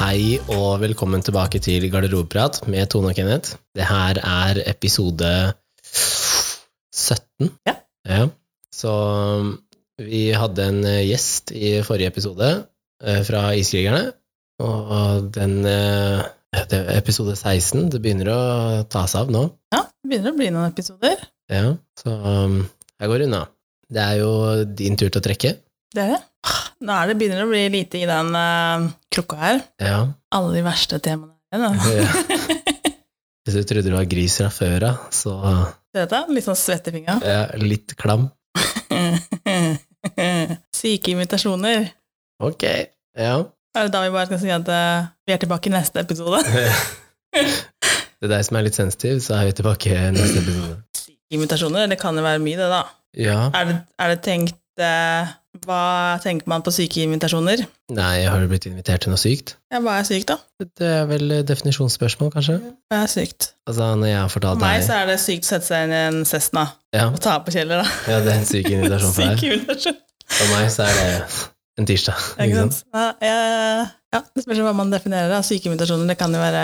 Hei og velkommen tilbake til Garderobeprat med Tone og Kenneth. Det her er episode 17. Ja. Så um, vi hadde en eh, gjest i forrige episode eh, fra Iskrigerne, og den eh, det er episode 16, det begynner å ta seg av nå. Ja, det begynner å bli noen episoder. Ja, så um, jeg går unna. Det er jo din tur til å trekke. Det er det. Nå er det begynner det å bli lite i den eh, krukka her. Ja. Alle de verste temaene. her, da. Hvis du trodde du var gris fra før av, så Ser du dette? Litt sånn svett i fingra. ja, litt klam. Syke invitasjoner. Ok, ja. Er det da vi bare skal si at eh, vi er tilbake i neste episode? Det er deg som er litt sensitiv, så er vi tilbake i neste episode. Syke invitasjoner, det kan jo være mye, det, da. Ja. Er det, er det tenkt eh, Hva tenker man på syke invitasjoner? Nei, har du blitt invitert til noe sykt? Ja, hva er sykt, da? Det er vel eh, definisjonsspørsmål, kanskje? Hva er sykt? Altså, når jeg har For fortalt meg deg så er det sykt å sette seg inn i en Cessna ja, og ta på kjeller, da. ja, det er en syk invitasjon for Syk deg. invitasjon. For meg så er det en tirsdag. Ikke sant? Ja, jeg- ja, det spørs jo hva man definerer. da. Syke invitasjoner, det kan jo være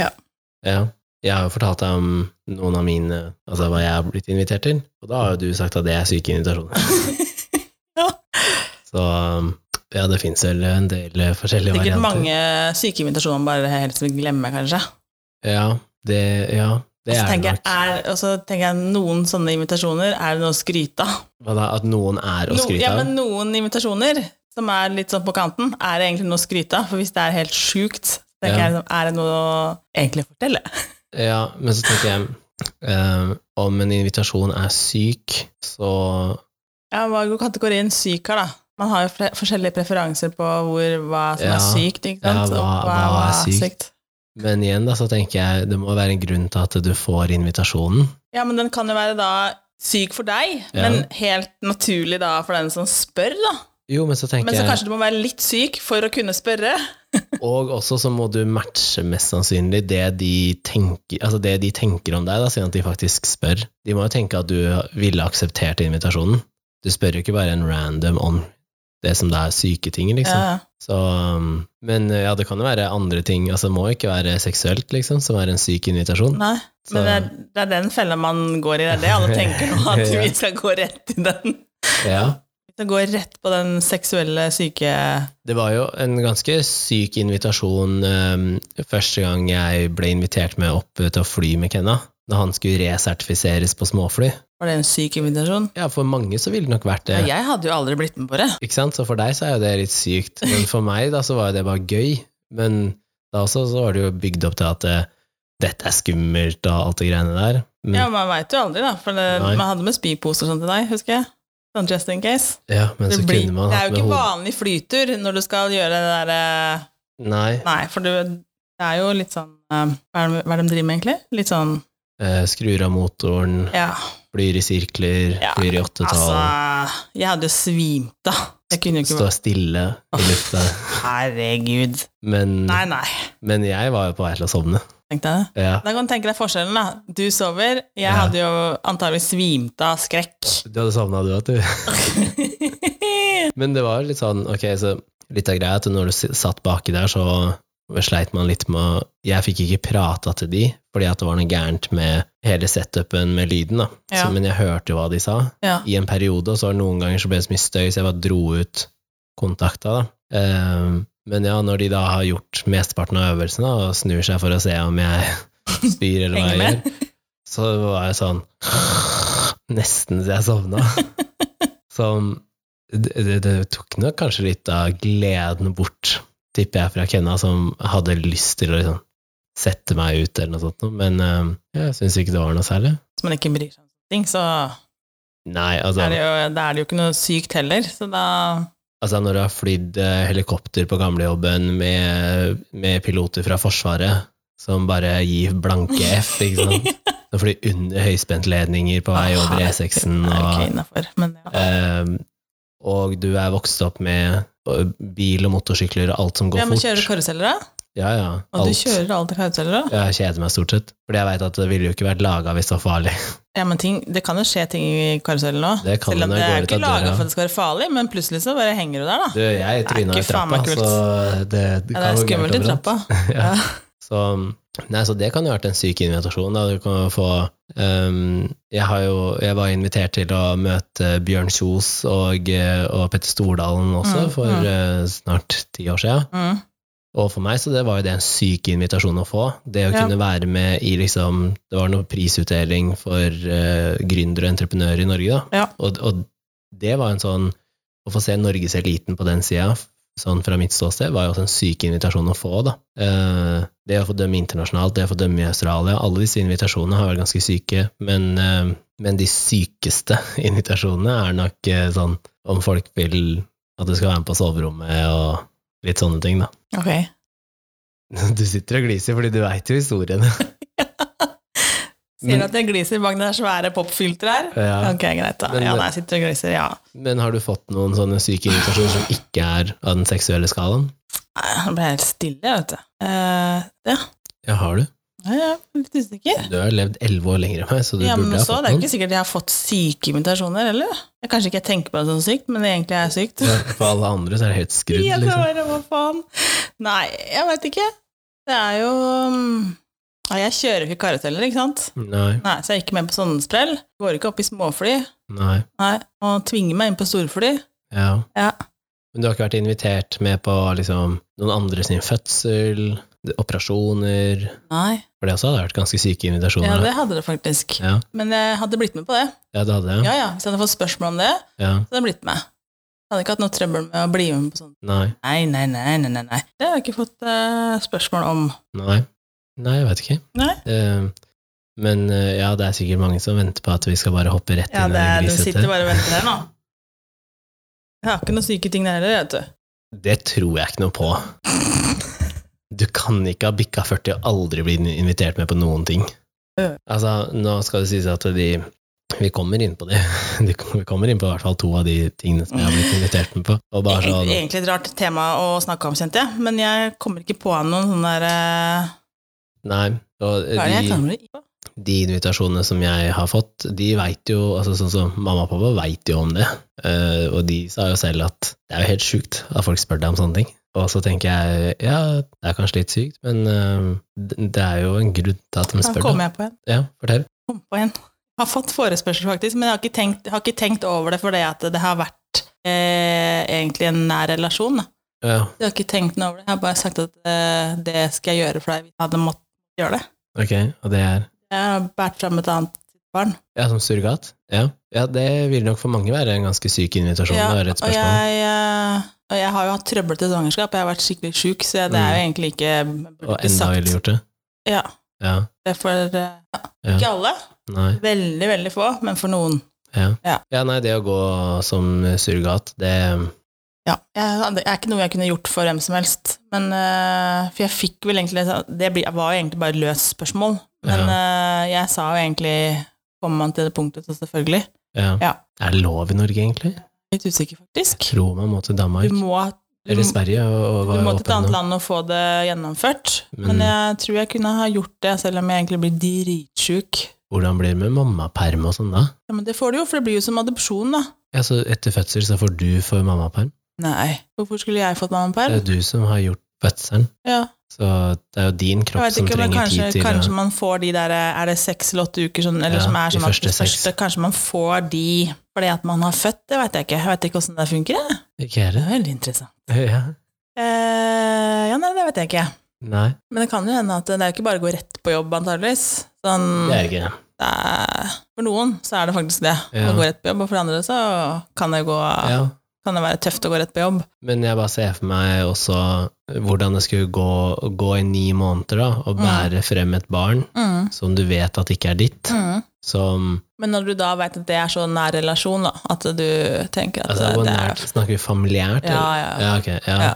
ja. Ja. Jeg har jo fortalt deg om noen av mine Altså hva jeg har blitt invitert til, og da har jo du sagt at det er syke invitasjoner. ja. Så um, ja, det fins vel en del eh, forskjellige Sikkert varianter. mange syke invitasjoner man bare helst vil glemme, kanskje. Ja, det, ja, Og det så er tenker, det jeg, nok. er- og så tenker jeg noen sånne invitasjoner, er det noe å skryte av? Hva da, at noen er å No- skryte Ja, av? men noen invitasjoner som er litt sånn på kanten, er det egentlig noe å skryte av? For hvis det er helt sjukt, så tenker Ja. jeg, liksom, er det noe å egentlig fortelle? Ja, men så tenker jeg eh, om en invitasjon er syk, så Ja, hva går kategorien syk her, da? Man har jo fre- forskjellige preferanser på hvor, hva som Ja. er sykt, ikke sant? Ja, Og hva- hva er sykt? Men igjen, da, så tenker jeg det må være en grunn til at du får invitasjonen. Ja, men den kan jo være da syk for deg, Ja. men helt naturlig da for den som spør, da. Jo, men så tenker Men så jeg kanskje du må være litt syk for å kunne spørre. Og også så må du matche mest sannsynlig det de tenker, altså det de tenker om deg, da, siden at de faktisk spør. De må jo tenke at du ville akseptert invitasjonen. Du spør jo ikke bare en random om det som det er syke ting, liksom. Ja. Så, um, men ja, det kan jo være andre ting. Altså, det må jo ikke være seksuelt, liksom, som er en syk invitasjon. Nei. Så- Men det er, det er den fella man går i, det er det alle tenker nå, at Ja. vi skal gå rett i den. Ja. Vi skal gå rett på den seksuelle syke Det var jo en ganske syk invitasjon um, første gang jeg ble invitert med opp eh, til å fly med Kenna, da han skulle resertifiseres på småfly. Var det en syk invitasjon? Ja, for mange så ville det nok vært det. Ja, jeg hadde jo aldri blitt med på det. Ikke sant? Så for deg så er jo det litt sykt, men for meg da så var jo det bare gøy. Men da også så var det jo bygd opp til at eh, dette er skummelt og alt det greiene der. Men, Ja, man veit jo aldri, da. For det, Mm. Nei. man hadde med spyposer og sånn til deg, husker jeg. Sånn just in case. ja, men Det, så blir, kunne man det er hatt jo med ikke hodet. vanlig flytur når du skal gjøre det eh, derre Nei, Nei, for det, det er jo litt sånn eh, hva, er det, hva er det de driver med, egentlig? Litt sånn eh, skrur av motoren, Ja, flyr i sirkler, Ja, flyr i åttetall, altså Jeg hadde jo svimt av. Jeg kunne jo ikke står stille i lufta. Herregud. Men, Nei, nei, men jeg var jo på vei til å sovne. tenkte jeg. Ja. Da kan du tenke deg forskjellen, da. Du sover, jeg Ja. hadde jo antagelig svimt av skrekk. Du hadde sovna du, vet du. Men det var litt sånn, ok, så litt av greia at når du s- satt baki der, så sleit man litt med å Jeg fikk ikke prata til de, fordi at det var noe gærent med hele setupen med lyden, da. Ja. Så, men jeg hørte jo hva de sa. ja. I en periode, og så var det noen ganger så ble det så mye støy, så jeg bare dro ut kontakta, da. Ehm, men ja, når de da har gjort mesteparten av øvelsen, da, og snur seg for å se om jeg spyr eller hva jeg Henger gjør, med. så var jeg sånn Nesten så jeg sovna. Som det, det, det tok nok kanskje litt av gleden bort, tipper jeg, fra Kenna, som hadde lyst til å liksom sette meg ut eller noe sånt, noe, men eh, jeg syns ikke det var noe særlig. Hvis man ikke bryr seg om sånne ting, så Nei, altså, er det jo, da er det jo ikke noe sykt heller. Så da altså når du har flydd eh, helikopter på gamlejobben med, med piloter fra Forsvaret som bare gir blanke F, ikke sant, som flyr under høyspentledninger på vei over E6-en Det er og ikke innafor, men ja. Ehm, og du er vokst opp med ø, bil og motorsykler og alt som går Ja, men fort. kjører du karuseller, da? Ja, ja. Og du Alt. kjører aldri karuseller òg? Jeg kjeder meg stort sett. Fordi jeg veit at det ville jo ikke vært laga hvis det var farlig. Ja, men ting, det kan jo skje ting i karusellen òg. Det kan Selv om det når det jeg er går ut ikke av døra. laga for at det skal være farlig, men plutselig så bare henger du der, da. Du, jeg tryna i ikke faen trappa, meg kult. så det, det Ja, kan det er gå skummelt i gærent overalt. trappa. Ja. Ja. Så, nei, så det kan jo ha vært en syk invitasjon. Da. Du kan jo få ehm, jeg, har jo, jeg var invitert til å møte Bjørn Kjos og, eh, og Petter Stordalen også Mm, for mm. eh, snart ti år siden. Mm. Og for meg så det var jo det en syk invitasjon å få. Det å Ja. kunne være med i liksom Det var noe prisutdeling for eh, gründere og entreprenører i Norge, da. Ja. Og, og det var en sånn Å få se norgeseliten på den sida, sånn fra mitt ståsted, var jo også en syk invitasjon å få, da. Eh, det å få dømme internasjonalt, det å få dømme i Australia, alle disse invitasjonene har vært ganske syke, men, eh, men de sykeste invitasjonene er nok eh, sånn om folk vil at du skal være med på soverommet og litt sånne ting, da. Ok. Du sitter og gliser fordi du veit jo historiene. Men- Ser du at jeg gliser bak det svære popfilteret her? Ja. Ok, greit, da. Men- Ja, nei, jeg sitter og gliser, ja. Men har du fått noen sånne syke invitasjoner som ikke er av den seksuelle skalaen? Nei, Nå ble jeg helt stille, vet du. Eh, ja, Ja, har du. Nei, jeg er litt usikker. Du har levd elleve år lenger enn meg, så du Ja, men burde ha så, fått det er noen. ikke sikkert jeg har fått syke invitasjoner, eller? Jeg kanskje ikke jeg tenker på det som sykt, men det egentlig er sykt. Ja, For alle andre så er det helt skrudd, Jeg liksom. bare, hva faen? Nei, jeg veit ikke. Det er jo um, ja, Jeg kjører ikke karuseller, ikke sant? liksom. Nei, Nei, Så jeg er ikke med på sånne sprell. Går ikke opp i småfly. nei, Nei, Og tvinger meg inn på storfly. ja. Ja. Men du har ikke vært invitert med på liksom noen andre sin fødsel, operasjoner Nei. For det også hadde vært ganske syke Ja, invitasjoner. det hadde det faktisk. Ja, Men jeg hadde blitt med på det. ja det hadde jeg. Ja, ja, Hvis jeg hadde fått spørsmål om det, så Ja. hadde jeg blitt med. Jeg hadde ikke hatt noe trøbbel med å bli med på sånt. Nei, Nei, nei, nei, nei, nei. nei. Det har jeg ikke fått eh, spørsmål om. nei. Nei, jeg veit ikke. Nei. Eh, Men eh, ja, det er sikkert mange som venter på at vi skal bare hoppe rett Ja, inn i det det er, du sitter grisete. bare og venter her nå. Jeg har ikke noen syke ting der heller, vet du. Det tror jeg ikke noe på. Du kan ikke ha bikka 40 og aldri bli invitert med på noen ting. Ja. Altså, nå skal det sies at de Vi kommer inn på de. De- Vi kommer inn på i hvert fall to av de tingene som jeg har blitt invitert med på. Og bare Egentlig, sånn egentlig et rart tema å snakke om, kjente jeg. Men jeg kommer ikke på noen sånne der eh, Nei. Og Hva er det jeg de, kommer på? de invitasjonene som jeg har fått, de veit jo altså sånn som Mamma og pappa veit jo om det, Eh, og de sa jo selv at det er jo helt sjukt at folk spør deg om sånne ting. Og så tenker jeg ja, det er kanskje litt sykt, men eh, det det er jo en grunn til at de Da spør kom deg. jeg på en. Ja, fortell. Kom på en. Jeg har fått forespørsel, faktisk, men jeg har ikke tenkt, jeg har ikke tenkt over det fordi at det har vært eh, egentlig en nær relasjon. Da. Ja, Jeg har ikke tenkt noe over det. Jeg har bare sagt at eh, det skal jeg gjøre for deg hvis jeg hadde måttet gjøre det. ok, og det er Jeg har båret fram et annet barn. Ja, som surrogat? Ja. ja, det vil nok for mange være en ganske syk invitasjon. Ja, det er et og spørsmål. jeg, eh, og jeg har jo hatt trøbbel til svangerskap, jeg har vært skikkelig sjuk, så det er jo egentlig ikke jeg burde Mm. Og ikke enda sagt- ville gjort det. Ja, Ja. det er for eh, Ja. ikke alle, Nei. veldig, veldig få, men for noen. Ja. Ja. ja, nei, det å gå som surrogat, det Ja, jeg, det er ikke noe jeg kunne gjort for hvem som helst, men eh, for jeg fikk vel egentlig, det blir- var jo egentlig bare et løst spørsmål, men eh, jeg sa jo egentlig, kommer man til det punktet, så selvfølgelig. ja. Ja. Er det lov i Norge, egentlig? Litt usikker faktisk. tror man må til Danmark Du må, du, eller Sverige og, og du være må til et åpen. annet land og få det gjennomført. Mm. Men jeg tror jeg kunne ha gjort det, selv om jeg egentlig blir dritsjuk. Hvordan blir det med mammaperm og sånn da? Ja, men det får du jo, for det blir jo som adopsjon, da. Ja, så etter fødsel så får du for mammaperm. Nei, hvorfor skulle jeg fått Det er mammaperm? jo du som har gjort fødselen, Ja, så det er jo din jeg kropp vet som ikke, men trenger kanskje, tid til kanskje å man får de der Er det seks eller åtte uker sånn, eller Ja, som er de sånn at første de seks. første, kanskje man får de fordi at man har født? Det vet jeg ikke. Jeg vet ikke åssen det funker. jeg. Ikke er Det det? er veldig interessant. Ja. Eh, ja, nei, det vet jeg ikke. Nei, Men det kan jo hende at det er jo ikke bare å gå rett på jobb, antageligvis. Sånn, det er ikke det. det er, for noen så er det faktisk det. Ja. Å gå rett på jobb, og for andre så kan det, gå, Ja. kan det være tøft å gå rett på jobb. Men jeg bare ser for meg også hvordan det skulle gå, gå i ni måneder da, og bære frem et barn Mm. som du vet at ikke er ditt, Mm. som, Men når du da veit at det er så nær relasjon, da, at du tenker at altså, det, hvor det nært, er snakker vi familiært? ja, eller? ja. Ja, ok, ja. Ja.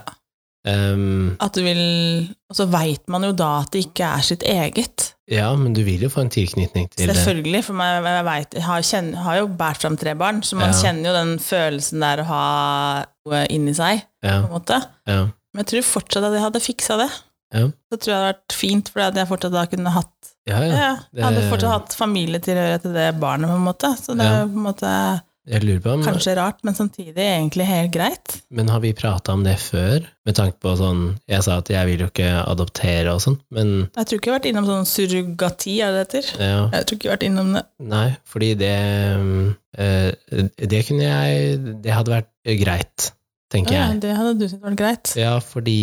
Ehm, At du vil Og så veit man jo da at det ikke er sitt eget. Ja, men du vil jo få en tilknytning til det. Selvfølgelig, for man, jeg, vet, jeg har, kjenn, har jo båret fram tre barn, så man Ja. kjenner jo den følelsen der å ha noe inni seg, på Ja, en måte. ja. Men jeg tror fortsatt at jeg hadde fiksa det. Ja. Så tror jeg det hadde vært fint, for at jeg fortsatt da kunne hatt Ja, ja. ja, Jeg hadde det- fortsatt hatt familietilhørighet til det barnet, på en måte. Så det er Ja. jo på en måte Jeg lurer på om kanskje rart, men samtidig egentlig helt greit. Men har vi prata om det før? Med tanke på sånn Jeg sa at jeg vil jo ikke adoptere og sånn, men Jeg tror ikke jeg har vært innom sånn surrogati, er det det heter? ja, Jeg tror ikke jeg har vært innom det. Nei, fordi det eh, Det kunne jeg Det hadde vært eh, greit, tenker Ja, jeg. det hadde du syntes var greit. Ja, fordi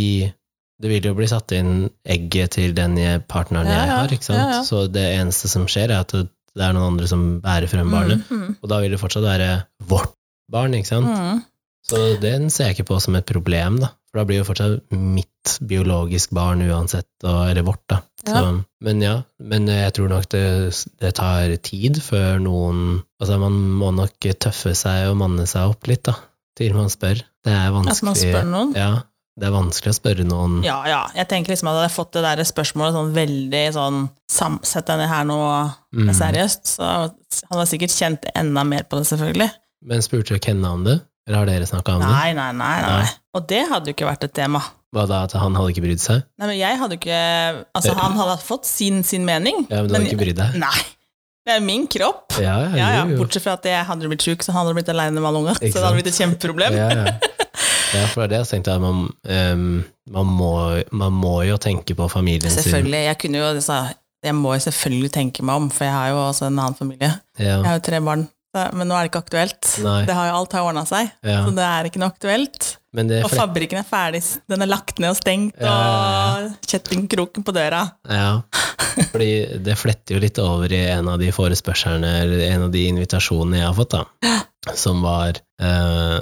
det vil jo bli satt inn egget til den jeg- partneren Ja, jeg ja. har, ikke sant? Ja, ja. Så det eneste som skjer, er at det det er noen andre som bærer frem barnet. Mm, mm, Og da vil det fortsatt være vårt barn, ikke sant? mm. Så den ser jeg ikke på som et problem, da. For da blir jo fortsatt mitt biologisk barn uansett, og, eller vårt, da. Så, Men ja, men jeg tror nok det, det tar tid før noen Altså, man må nok tøffe seg og manne seg opp litt, da, til man spør. Det er vanskelig. At man spør noen. Ja, det er vanskelig å spørre noen. Ja, ja. Jeg tenker liksom at hadde jeg fått det der spørsmålet sånn veldig sånn sam- Sett deg ned her nå, det er Mm. seriøst. Så han har sikkert kjent enda mer på det, selvfølgelig. Men spurte dere Kenna om det? Eller har dere snakka om det? Nei, nei, nei, nei. Nei. Og det hadde jo ikke vært et tema. Hva da, at han hadde ikke brydd seg? Nei, men jeg hadde jo ikke Altså, Eh. han hadde fått sin, sin mening. Ja, men du hadde ikke brydd deg? Nei. Det er min kropp. Ja, Ja, ja. jo, jo. Bortsett fra at jeg hadde blitt sjuk, så han hadde blitt aleine med alle unga. Så Ikke det hadde sant? blitt et kjempeproblem. Ja, ja. ja, for det er det jeg tenkte, at man, ehm, man, må, man må jo tenke på familien sin. Selvfølgelig. Jeg kunne jo altså, Jeg må jo selvfølgelig tenke meg om, for jeg har jo også en annen familie. Jeg Ja, har jo tre barn. Så, men nå er det ikke aktuelt. Nei. Det har jo alt har ordna seg, ja. så det er ikke noe aktuelt. Men det Og fle- fabrikken er ferdig, den er lagt ned og stengt, Ja, ja, og kjettingkroken på døra. Ja, fordi det fletter jo litt over i en av de forespørslene, eller en av de invitasjonene jeg har fått, da, som var eh,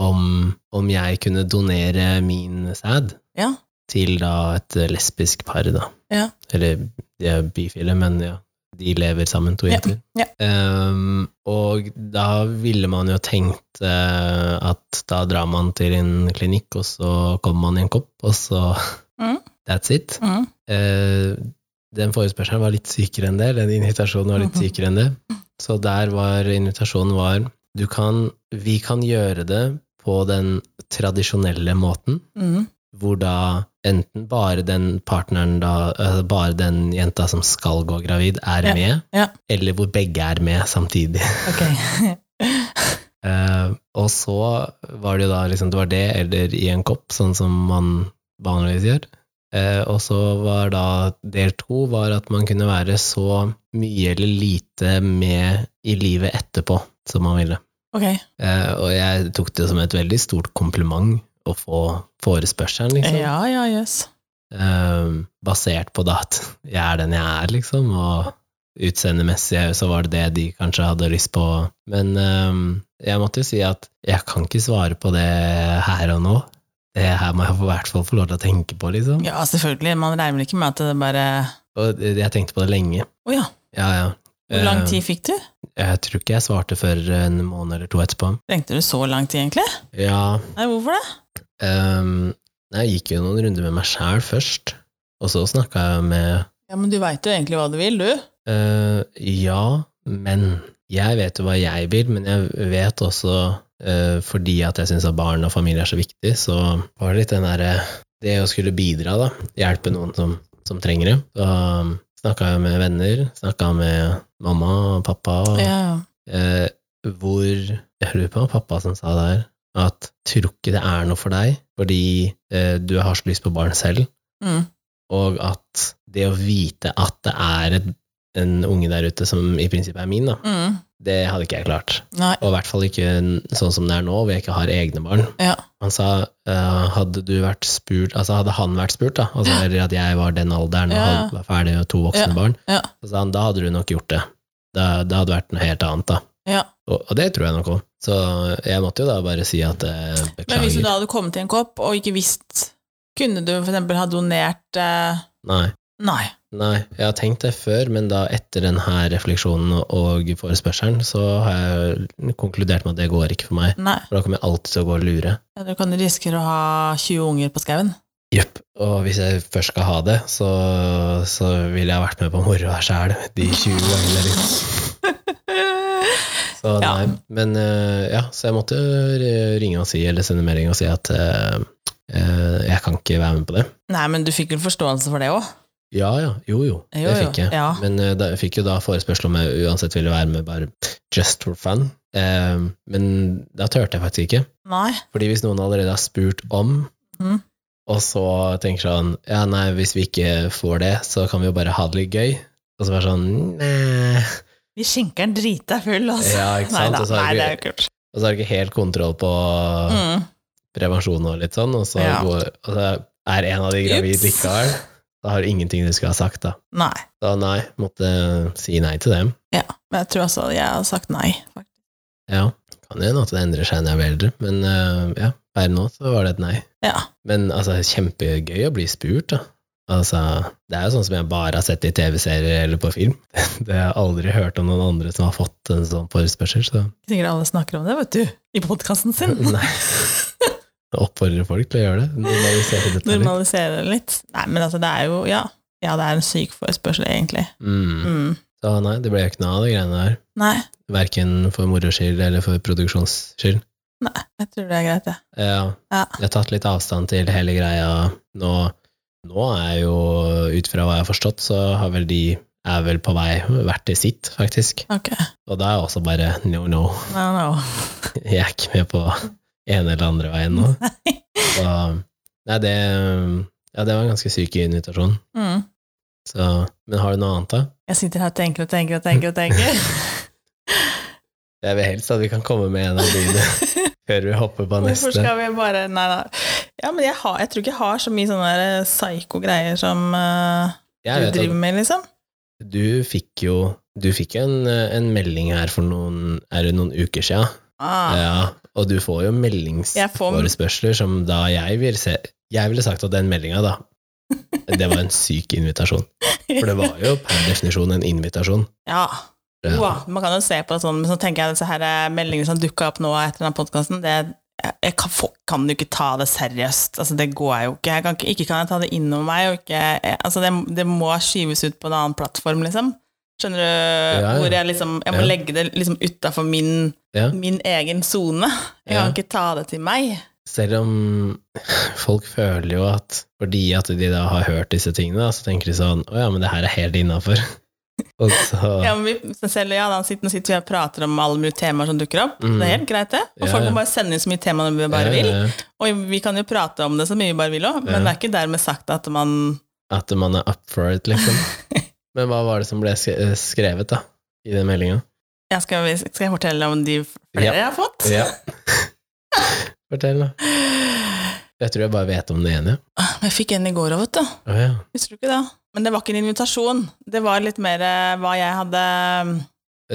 om, om jeg kunne donere min sæd Ja. til da et eh, lesbisk par, da. Ja. Eller de er bifile, men ja, de lever sammen, to Ja, jenter. ja. Ehm, og da ville man jo tenkt eh, at da drar man til en klinikk, og så kommer man i en kopp, og så Mm. That's it. Mm. Eh, den forespørselen var litt sykere enn det, den invitasjonen var litt Mhm. sykere enn det. Så der var invitasjonen var du kan, Vi kan gjøre det på den tradisjonelle måten, Mm. hvor da enten bare den partneren da, eh, bare den jenta som skal gå gravid, er Ja, med, ja. eller hvor begge er med samtidig. Ok. Eh, og så var det jo da liksom, det var det, eller i en kopp, sånn som man vanligvis gjør. Eh, og så var da del to var at man kunne være så mye eller lite med i livet etterpå som man ville. Ok. Eh, og jeg tok det som et veldig stort kompliment å få forespørselen, liksom. Ja, ja, jøss. Eh, basert på da at jeg er den jeg er, liksom, og utseendemessig så var det det de kanskje hadde lyst på. Men eh, jeg måtte jo si at jeg kan ikke svare på det her og nå. Det her må jeg i hvert fall få lov til å tenke på, liksom. Ja, selvfølgelig. Man regner vel ikke med at det bare Og jeg tenkte på det lenge. Å ja. Ja, ja. Hvor lang Eh, tid fikk du? Jeg tror ikke jeg svarte før en måned eller to etterpå. Trengte du så lang tid, egentlig? Ja, Nei, hvorfor det? ehm, jeg gikk jo noen runder med meg sjæl først, og så snakka jeg med Ja, Men du veit jo egentlig hva du vil, du. eh, Ja, men Jeg vet jo hva jeg vil, men jeg vet også eh, fordi at jeg syns at barn og familie er så viktig, så var det litt den derre Det å skulle bidra, da. Hjelpe noen som, som trenger det. Så um, snakka jeg med venner, snakka med mamma og pappa. Og, Ja. eh, hvor Jeg lurer på om pappa som sa det her, at tror ikke det er noe for deg, fordi eh, du har så lyst på barn selv, Mm. og at det å vite at det er et, en unge der ute som i prinsippet er min, da, Mm. det hadde ikke jeg klart. Nei. Og i hvert fall ikke n- sånn som det er nå, hvor jeg ikke har egne barn. Ja. Han sa eh, hadde du vært spurt, altså hadde han vært spurt, da, altså, eller at jeg var den alderen og Ja. hadde- var ferdig med to voksne Ja. barn, Ja. så sa han da hadde du nok gjort det. Det, det hadde vært noe helt annet, da. Ja. Og, og det tror jeg nok òg. Så jeg måtte jo da bare si at eh, Men hvis du beklager. da hadde kommet i en kopp og ikke visst Kunne du for eksempel ha donert eh, Nei. Nei. Nei, jeg har tenkt det før, men da etter denne refleksjonen og forespørselen, så har jeg konkludert med at det går ikke for meg. Nei. For da kommer jeg alltid til å gå og lure. Ja, Du kan risikere å ha 20 unger på skauen. Jepp. Og hvis jeg først skal ha det, så, så ville jeg vært med på moroa sjæl de 20 gangene. Liksom. Så Ja. nei. Men eh, ja, så jeg måtte ringe og si, eller sende melding og si at eh, eh, jeg kan ikke ikke være med på det. Nei, men du fikk vel forståelse for det òg? Ja, ja. Jo, jo. Jo, det jo, fikk jeg. ja. Men eh, da, jeg fikk jo da forespørsel om jeg uansett ville være med, bare just for fun. Eh, men da turte jeg faktisk ikke. Nei. Fordi hvis noen allerede har spurt om, Mhm. og så tenker sånn Ja, nei, hvis vi ikke får det, så kan vi jo bare ha det litt gøy. Og så bare sånn Nei. Vi skjenker den drita full, altså. Ja, ikke sant? Neida, og, så nei, har det du, er jo kult. og så har du ikke helt kontroll på Mm. prevensjon og litt sånn, og så, Ja. går, og så er en av de gravid Ups. likevel. Da har du ingenting du skulle ha sagt, da. Nei. Da nei, måtte si nei til dem. Men jeg tror altså jeg har sagt nei. faktisk. Ja, kan jo hende at det endrer seg når jeg blir eldre, men eh, ja, per nå så var det et nei. Ja. Men altså, kjempegøy å bli spurt, da. Altså, det er jo sånn som jeg bare har sett i TV-serier eller på film. Det har jeg aldri hørt om noen andre som har fått en sånn forespørsel, så Ikke sikkert alle snakker om det, vet du. I podkasten sin. nei. Jeg oppfordrer folk til å gjøre det. Normalisere dette litt. Normalisere det litt. Nei, men altså, det er jo Ja, ja det er en syk forespørsel, egentlig. Mm. Mm. Så nei, det ble jo ikke noe av de greiene der. Nei, Verken for moro skyld eller for produksjons skyld. jeg tror det er greit, det. Ja, Ja. jeg har tatt litt avstand til hele greia. Nå, nå er jo, ut fra hva jeg har forstått, så har vel de er vel på vei hvert til sitt, faktisk. Ok. Og da er jeg også bare no, no. No, no. Jeg er ikke med på ene eller andre veien nå. Så nei, det Ja, det var en ganske syk invitasjon. Mm. Så Men har du noe annet, da? Jeg sitter her og tenker og tenker og tenker. og tenker. Jeg vil helst at vi kan komme med en av dine før vi hopper på Hvorfor neste. skal vi bare Nei da. Ja, men jeg, har, jeg tror ikke jeg har så mye sånne der psyko-greier som eh, Jeg du vet at driver med, liksom. du fikk jo Du fikk en, en melding her for noen Er det noen uker sia? Ah. Ja, og du får jo Jeg får- meldingsforespørsler som da jeg ville se Jeg ville sagt at den meldinga, da Det var en syk invitasjon. For det var jo per definisjon en invitasjon. Ja. Ja. Wow, man kan jo se på det sånn, men så tenker jeg at disse her eh, meldingene som dukka opp nå etter denne podkasten, det jeg jeg kan, få- kan jo ikke ta det seriøst. Altså, det går jeg jo ikke. Jeg kan ikke, ikke kan jeg ta det innover meg. Og ikke, jeg, altså, det, det må skyves ut på en annen plattform, liksom. Skjønner du? ja. Hvor jeg liksom Jeg må Ja. legge det liksom utafor min, Ja. min egen sone. Jeg Ja. kan ikke ta det til meg. Selv om folk føler jo at fordi at de da har hørt disse tingene, da, så tenker de sånn Å ja, men det her er helt innafor. Og så Ja, men vi, så selv ja, da sitter, nå sitter vi og prater om alle mulige temaer som dukker opp. Mm. Det er helt greit, det. Og Ja, folk ja. må bare sende inn så mye tema de bare Ja, vil. ja, Og vi kan jo prate om det så mye vi bare vil òg, men Ja. det er ikke dermed sagt at man At man er up for it, liksom. Men hva var det som ble sk- eh, skrevet, da? I den meldinga? ja, skal, vi, skal jeg fortelle om de flere Ja. jeg har fått? Ja. Fortell, da. Jeg tror jeg bare vet om det ene. Ah, Jeg fikk en i går òg, vet du. Å ja. Husker du ikke det? Men det var ikke en invitasjon. Det var litt mer eh, hva jeg hadde mm,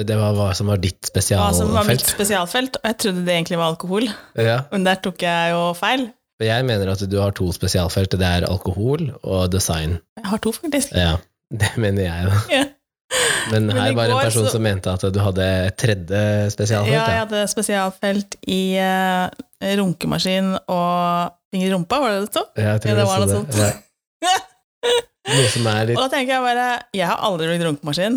Det var hva som var ditt Hva som var mitt spesialfelt. spesialfelt. Og jeg trodde det egentlig var alkohol, Ja. men der tok jeg jo feil. For jeg mener at du har to spesialfelt. Det er alkohol og design. Jeg har to, faktisk. Ja, det mener jeg, da. Ja. Men Men her i var det går en person så- som mente at du hadde et tredje spesialfelt. Ja, jeg Ja, hadde spesialfelt i eh, runkemaskin og finger i rumpa, var det det stod? Jeg tror Ja, det jeg var så noe det. sånt. Ja. Noe som er Og litt da tenker jeg bare Jeg har aldri blitt runkemaskin.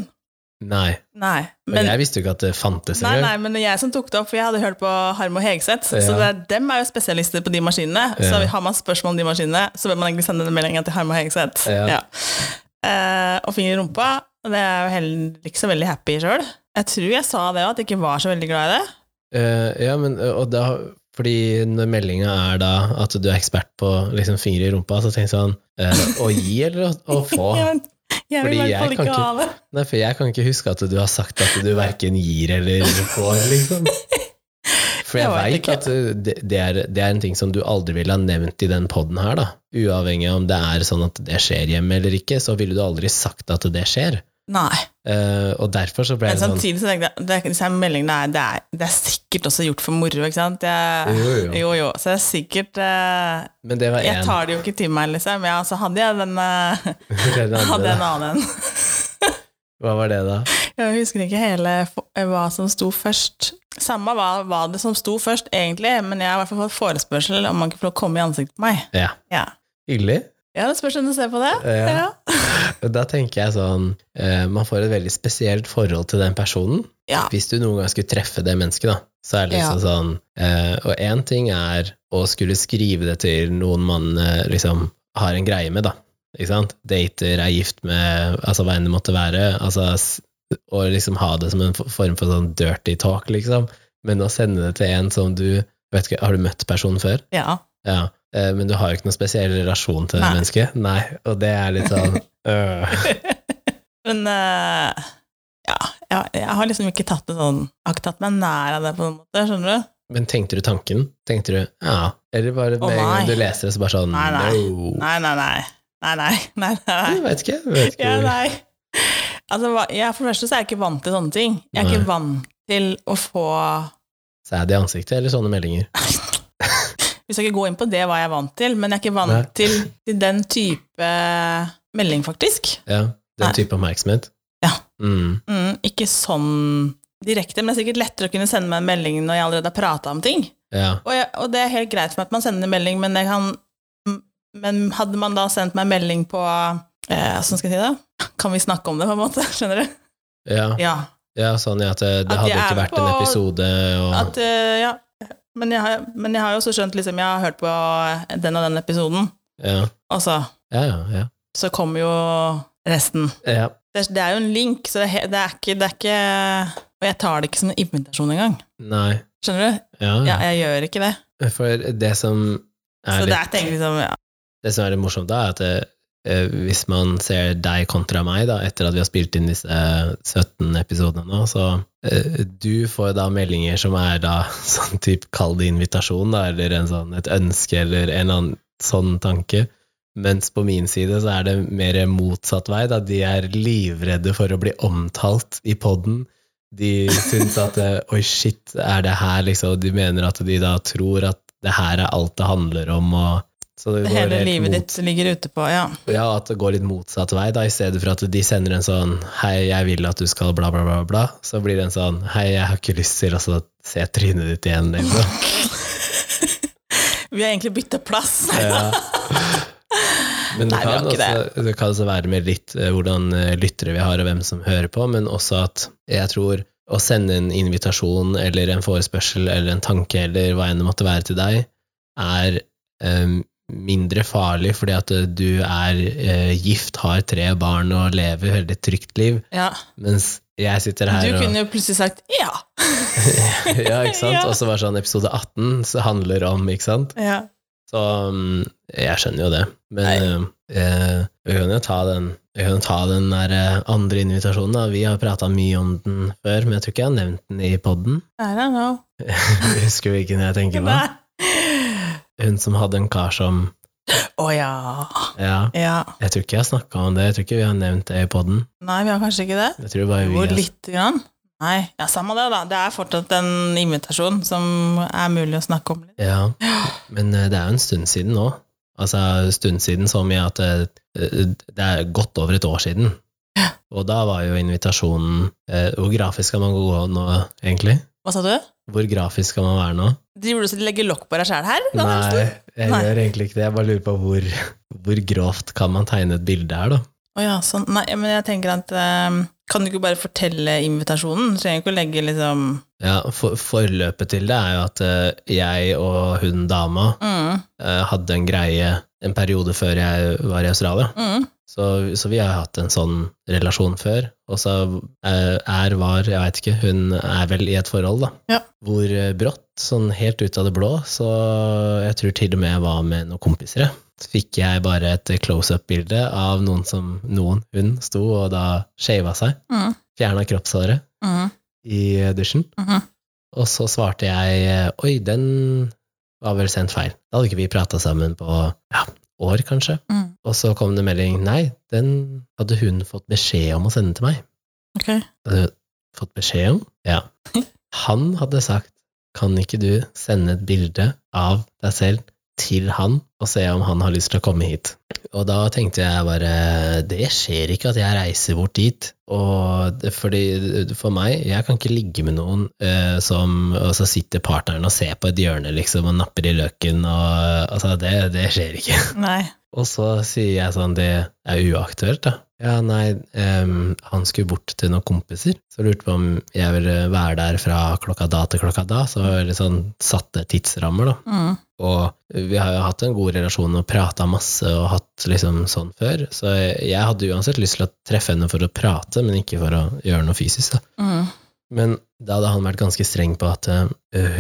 Nei. Nei. Men Men, jeg visste jo ikke at det fantes nei, nei, engang. men det er jeg som tok det opp, for jeg hadde hørt på Harm og Hegseth. Så Ja. det er, dem er jo spesialister på de maskinene. Ja. Så har man spørsmål om de maskinene, så bør man egentlig sende den meldinga til Harm og Hegseth. Ja. Eh, og finger i rumpa, det er jo heller ikke så veldig happy sjøl. Jeg tror jeg sa det òg, at jeg ikke var så veldig glad i det. Eh, ja, men eh, og da Fordi når meldinga er da at du er ekspert på liksom fingre i rumpa, så tenker jeg sånn eh, Å gi eller å, å få? Jeg, jeg vil Fordi i hvert jeg fall kan ikke ikke- ha det. Nei, for jeg kan ikke huske at du har sagt at du verken gir eller får, liksom. For jeg Jeg vet veit ikke. at uh, det det er, det er en ting som du aldri ville ha nevnt i den poden her, da. Uavhengig av om det er sånn at det skjer hjemme eller ikke, så ville du aldri sagt at det skjer. Nei. Eh, og derfor så ble Men det sånn samtidig så tenkte jeg det, disse her meldingene er, det, er, det er sikkert også gjort for moro, ikke sant? Jeg, jo, jo. jo, jo. Så det er sikkert eh, Men det var Jeg én. tar det jo ikke til meg, liksom. Ja, så hadde jeg den eh, Fortell den andre, Hadde jeg en da. annen en. Hva var det, da? Jeg husker ikke hele f- hva som sto først. Samme hva, hva det som sto først, egentlig, men jeg har i hvert fall fått forespørsel om man ikke får lov å komme i ansiktet på meg. Ja. Ja. Hyggelig. Eh, Ja, det spørs om du ser på det. Ja. Ja. Da tenker jeg sånn eh, Man får et veldig spesielt forhold til den personen. Ja. Hvis du noen gang skulle treffe det mennesket, da, så er det liksom sånn eh, Og én ting er å skulle skrive det til noen man eh, liksom har en greie med, da. Ikke sant? Dater, er gift med Altså hva enn det måtte være. Altså, s- å liksom ha det som en f- form for sånn dirty talk, liksom. Men å sende det til en som du vet ikke, Har du møtt personen før? ja. Ja, eh, men du har jo ikke noen spesiell relasjon til det Nei. mennesket. Nei, og det er litt sånn øh. Men eh, ja, jeg, jeg har liksom ikke tatt det sånn Jeg har ikke tatt meg nær av det, på en måte. Skjønner du? Men tenkte du tanken? Tenkte du ja? Eller bare Å, med en gang nei. du leser det, så bare sånn Nei, nei. no. Nei, nei, nei. Nei, nei. nei, nei. Jeg vet ikke. Jeg vet ikke. Ja, nei. Altså, hva- jeg, for det første så er jeg ikke vant til sånne ting. Jeg er Nei. ikke vant til å få Sæd i ansiktet eller sånne meldinger. Vi skal ikke gå inn på det, hva jeg er vant til, men jeg er ikke vant Nei. til, til den type melding, faktisk. Ja, Den Nei. type oppmerksomhet. Ja. Mm. Mm, ikke sånn direkte, men det er sikkert lettere å kunne sende meg en melding når jeg allerede har prata om ting. Ja. Og, jeg, og det er helt greit for meg at man sender en melding, men, jeg kan, m- men hadde man da sendt meg en melding på eh, Hvordan skal jeg si det? Kan vi snakke om det, på en måte? Skjønner du? Ja. Ja. ja, sånn ja, at det, det At hadde jeg ikke er vært en på- episode og At, eh, ja. Men, jeg har, men jeg har jo også skjønt liksom, Jeg har hørt på den og den episoden, ja. og så, Ja, ja, ja. så kommer jo resten. ja. Det, er- det er jo en link, så det, er he- det, er ikke, det er ikke Og jeg tar det ikke som en invitasjon engang. Nei. Skjønner du? Ja, Ja, ja. jeg gjør ikke det. For det som er Så litt det er tenkt liksom ja. det som er litt morsomt da, er at eh, hvis man ser deg kontra meg, da, etter at vi har spilt inn disse eh, 17 episodene nå, så eh, du får da meldinger som er da sånn type kall det invitasjon, da, eller en sånn, et ønske, eller en eller annen sånn tanke. Mens på min side så er det mer motsatt vei, da de er livredde for å bli omtalt i podden. De syns at eh, oi, shit, er det her, liksom? Og de mener at de da tror at det her er alt det handler om, og så det går Hele helt livet mot- ditt ligger ute på Ja. ja, at det går litt motsatt vei, da, i stedet for at de sender en sånn 'hei, jeg vil at du skal bla, bla, bla', bla, så blir det en sånn 'hei, jeg har ikke lyst til å så se trynet ditt igjen', liksom. Vi har egentlig bytta plass. Ja. Eh, Men det Nei, vi har kan, ikke også, det kan også være med litt eh, hvordan eh, lyttere vi har, og hvem som hører på, men også at jeg tror å sende en invitasjon eller en forespørsel eller en tanke eller hva enn det måtte være til deg, er eh, mindre farlig fordi at eh, du er eh, gift, har tre barn og lever et veldig trygt liv, Ja. mens jeg sitter her Du og kunne jo plutselig sagt ja. Ja, ikke sant? Ja. Og så var det sånn episode 18 så handler om, ikke sant? ja. Så um, jeg skjønner jo det. Men eh, vi kan jo ta den, vi kan jo ta den der eh, andre invitasjonen. Da. Vi har prata mye om den før, men jeg tror ikke jeg har nevnt den i poden. I don't know. Husker du hvilken jeg tenker på? Nei. Hun som hadde en kar som Å ja. Ja, ja. jeg tror ikke jeg har snakka om det. Jeg tror ikke vi har nevnt det i poden. Nei, vi har kanskje ikke det? Jeg tror bare vi Jo, har- lite grann. Nei, ja, samme det, da. Det er fortsatt en invitasjon som er mulig å snakke om. litt. Ja, men eh, det er jo en stund siden nå. Altså stund siden som i at eh, det er godt over et år siden. Og da var jo invitasjonen eh, Hvor grafisk skal man gå nå, egentlig? Hva sa du? Hvor grafisk skal man være nå? Driver du og legger lokk på deg sjæl her? da, Nei, Nelson? jeg Nei. gjør egentlig ikke det. Jeg bare lurer på hvor, hvor grovt kan man tegne et bilde her, da? Å ja, sånn. Nei, men jeg tenker at eh, Kan du ikke bare fortelle invitasjonen? Du trenger ikke å legge liksom Ja, for, Forløpet til det er jo at eh, jeg og hun dama mm, eh, hadde en greie en periode før jeg var i Australia. mm. Så, så vi har hatt en sånn relasjon før, og så eh, er, var, jeg veit ikke, hun er vel i et forhold, da. Ja. Hvor eh, brått, sånn helt ut av det blå, så jeg tror til og med jeg var med noen kompiser, jeg. Så fikk jeg bare et close-up-bilde av noen som noen, hun, sto og da shava seg, Mm. fjerna kroppshåret Mm. i eh, dusjen, Mhm. og så svarte jeg eh, oi, den var vel sendt feil. Da hadde ikke vi prata sammen på ja, år, kanskje. Mm. Og så kom det melding Nei, den hadde hun fått beskjed om å sende til meg. Ok. Hadde hun fått beskjed om? Ja. Han hadde sagt Kan ikke du sende et bilde av deg selv til han og se om han har lyst til å komme hit? Og da tenkte jeg bare Det skjer ikke at jeg reiser bort dit. Og det- fordi for meg Jeg kan ikke ligge med noen eh, som Og så sitter partneren og ser på et hjørne liksom og napper i løken og Altså, det, det skjer ikke. Nei. Og så sier jeg sånn, det er uaktuelt, da. Ja, nei, ehm, han skulle bort til noen kompiser, så lurte på om jeg ville være der fra klokka da til klokka da, så var det sånn satte tidsrammer, da. Mm. Og vi har jo hatt en god relasjon og prata masse og hatt liksom sånn før, så jeg, jeg hadde uansett lyst til å treffe henne for å prate, men ikke for å gjøre noe fysisk, da. Mm. Men da hadde han vært ganske streng på at eh,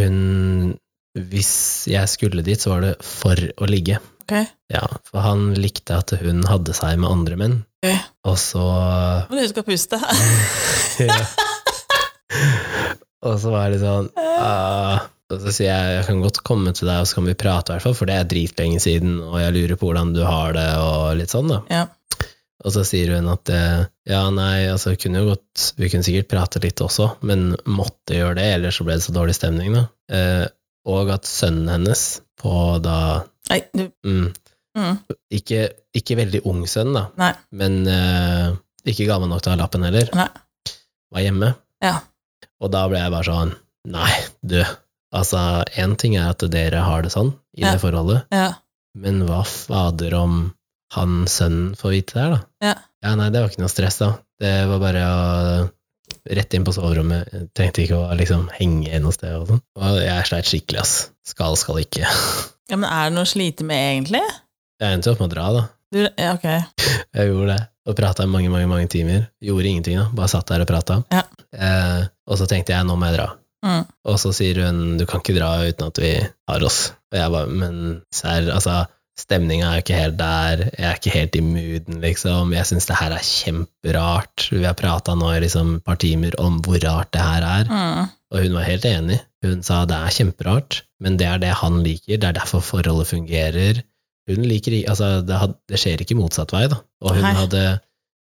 hun Hvis jeg skulle dit, så var det for å ligge. Ok. Ja, for han likte at hun hadde seg med andre menn. Ok. Og så Må du huske å puste. ja. Og så var det sånn ah, Og så sier jeg jeg kan godt komme til deg, og så kan vi prate, i hvert fall, for det er dritlenge siden, og jeg lurer på hvordan du har det, og litt sånn, da. Ja. Og så sier hun at eh, ja, nei, altså kunne jo godt, vi kunne sikkert prate litt også, men måtte gjøre det, ellers så ble det så dårlig stemning, da. Eh, og at sønnen hennes på da Nei, du mm, mm. ikke, ikke veldig ung sønn, da, Nei. men eh, ikke gammel nok til å ha lappen heller, Nei. var hjemme. Ja. Og da ble jeg bare sånn Nei, du. Altså, én ting er at dere har det sånn i Ja. det forholdet, Ja. men hva fader om han sønnen får vite det her, da? Ja. nei, det var ikke noe stress, da. Det var bare å rett inn på soverommet. Jeg Trengte ikke å liksom henge noe sted og sånn. Og jeg sleit skikkelig, ass. Skal, skal ikke. ja, men er det noe å slite med, egentlig? Jeg endte jo opp med å dra, da. Du, ja, ok. Jeg gjorde det. Og prata i mange, mange mange timer. Gjorde ingenting, da. Bare satt der og prata. Ja. Eh, og så tenkte jeg, nå må jeg dra. Mm. Og så sier hun, du kan ikke dra uten at vi har oss. Og jeg bare, men serr, altså, stemninga er jo ikke helt der. Jeg er ikke helt i mooden, liksom. Jeg syns det her er kjemperart. Vi har prata nå i liksom et par timer om hvor rart det her er. Mm. Og hun var helt enig. Hun sa det er kjemperart, men det er det han liker, det er derfor forholdet fungerer. Hun liker i- Altså, det, had, det skjer ikke motsatt vei, da. Og hun Nei. hadde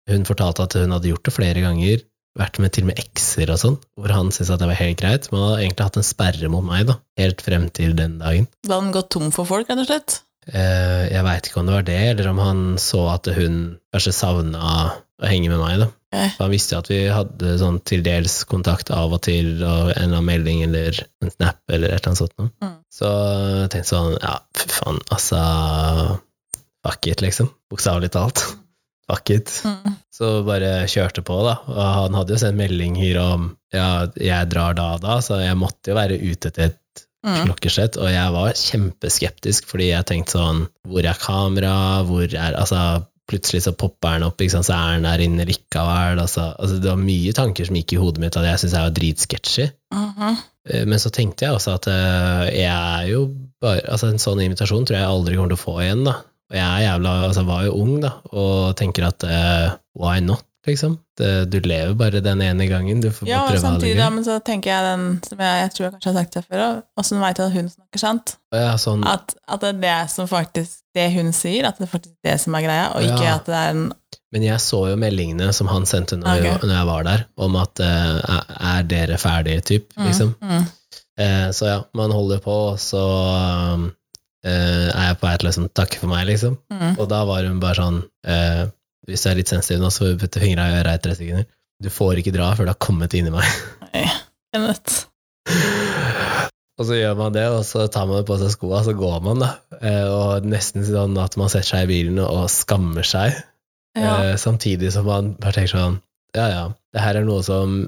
Hun fortalte at hun hadde gjort det flere ganger, vært med til og med ekser og sånn, hvor han syntes at det var helt greit. Man hadde egentlig hatt en sperre mot meg, da, helt frem til den dagen. Da har den gått tom for folk, rett og slett? Eh, jeg veit ikke om det var det, eller om han så at hun kanskje savna å henge med meg, da. Ok. For han visste jo at vi hadde sånn til dels kontakt av og til, og en eller annen melding eller en snap eller et eller annet sånt noe. Mm. Så jeg tenkte sånn, ja, fy faen, altså Fuck it, liksom. Bokstavelig talt. Fuck it. Mm. Så bare kjørte på, da. Og han hadde jo sendt meldinger om ja, jeg drar da og da, så jeg måtte jo være ute til et Mm. klokkeslett, og jeg var kjempeskeptisk, fordi jeg tenkte sånn, hvor er kamera, hvor er, altså, plutselig så popper den opp, ikke sant, så er den der inne likevel, altså, altså, det var mye tanker som gikk i hodet mitt, at jeg synes jeg var dritsketchy, Mhm. Eh, men så tenkte jeg også at eh, jeg er jo bare, altså, en sånn invitasjon tror jeg aldri kommer til å få igjen, da, og jeg er jævla, altså, var jo ung, da, og tenker at, eh, why not, liksom, det, du lever bare den ene gangen, du får Ja, bare og prøve å ha det samtidig, gøy. ja, men så tenker jeg den som jeg, jeg tror jeg kanskje har sagt det før, og- og som veit at hun snakker sant. Ja, sånn, At, at det er det som faktisk Det hun sier, at det er faktisk det som er greia, og Ja. ikke at det er en Men jeg så jo meldingene som han sendte når, Ok. jeg, når jeg var der, om at eh, er- er dere ferdige, typ, mm, liksom. Mm. Eh, så ja, man holder på, og så um, eh, er jeg på vei til å liksom, takke for meg, liksom. Mm. Og da var hun bare sånn, eh, hvis du er litt sensitiv nå, så får du putte fingra i øra i tre sekunder. Du får ikke dra før du har kommet inni meg. Kenneth. Og så gjør man det, og så tar man på seg skoa, så går man, da. Eh, og nesten sånn at man setter seg i bilen og skammer seg. Ja. Eh, samtidig som man bare tenker sånn Ja, ja, det her er noe som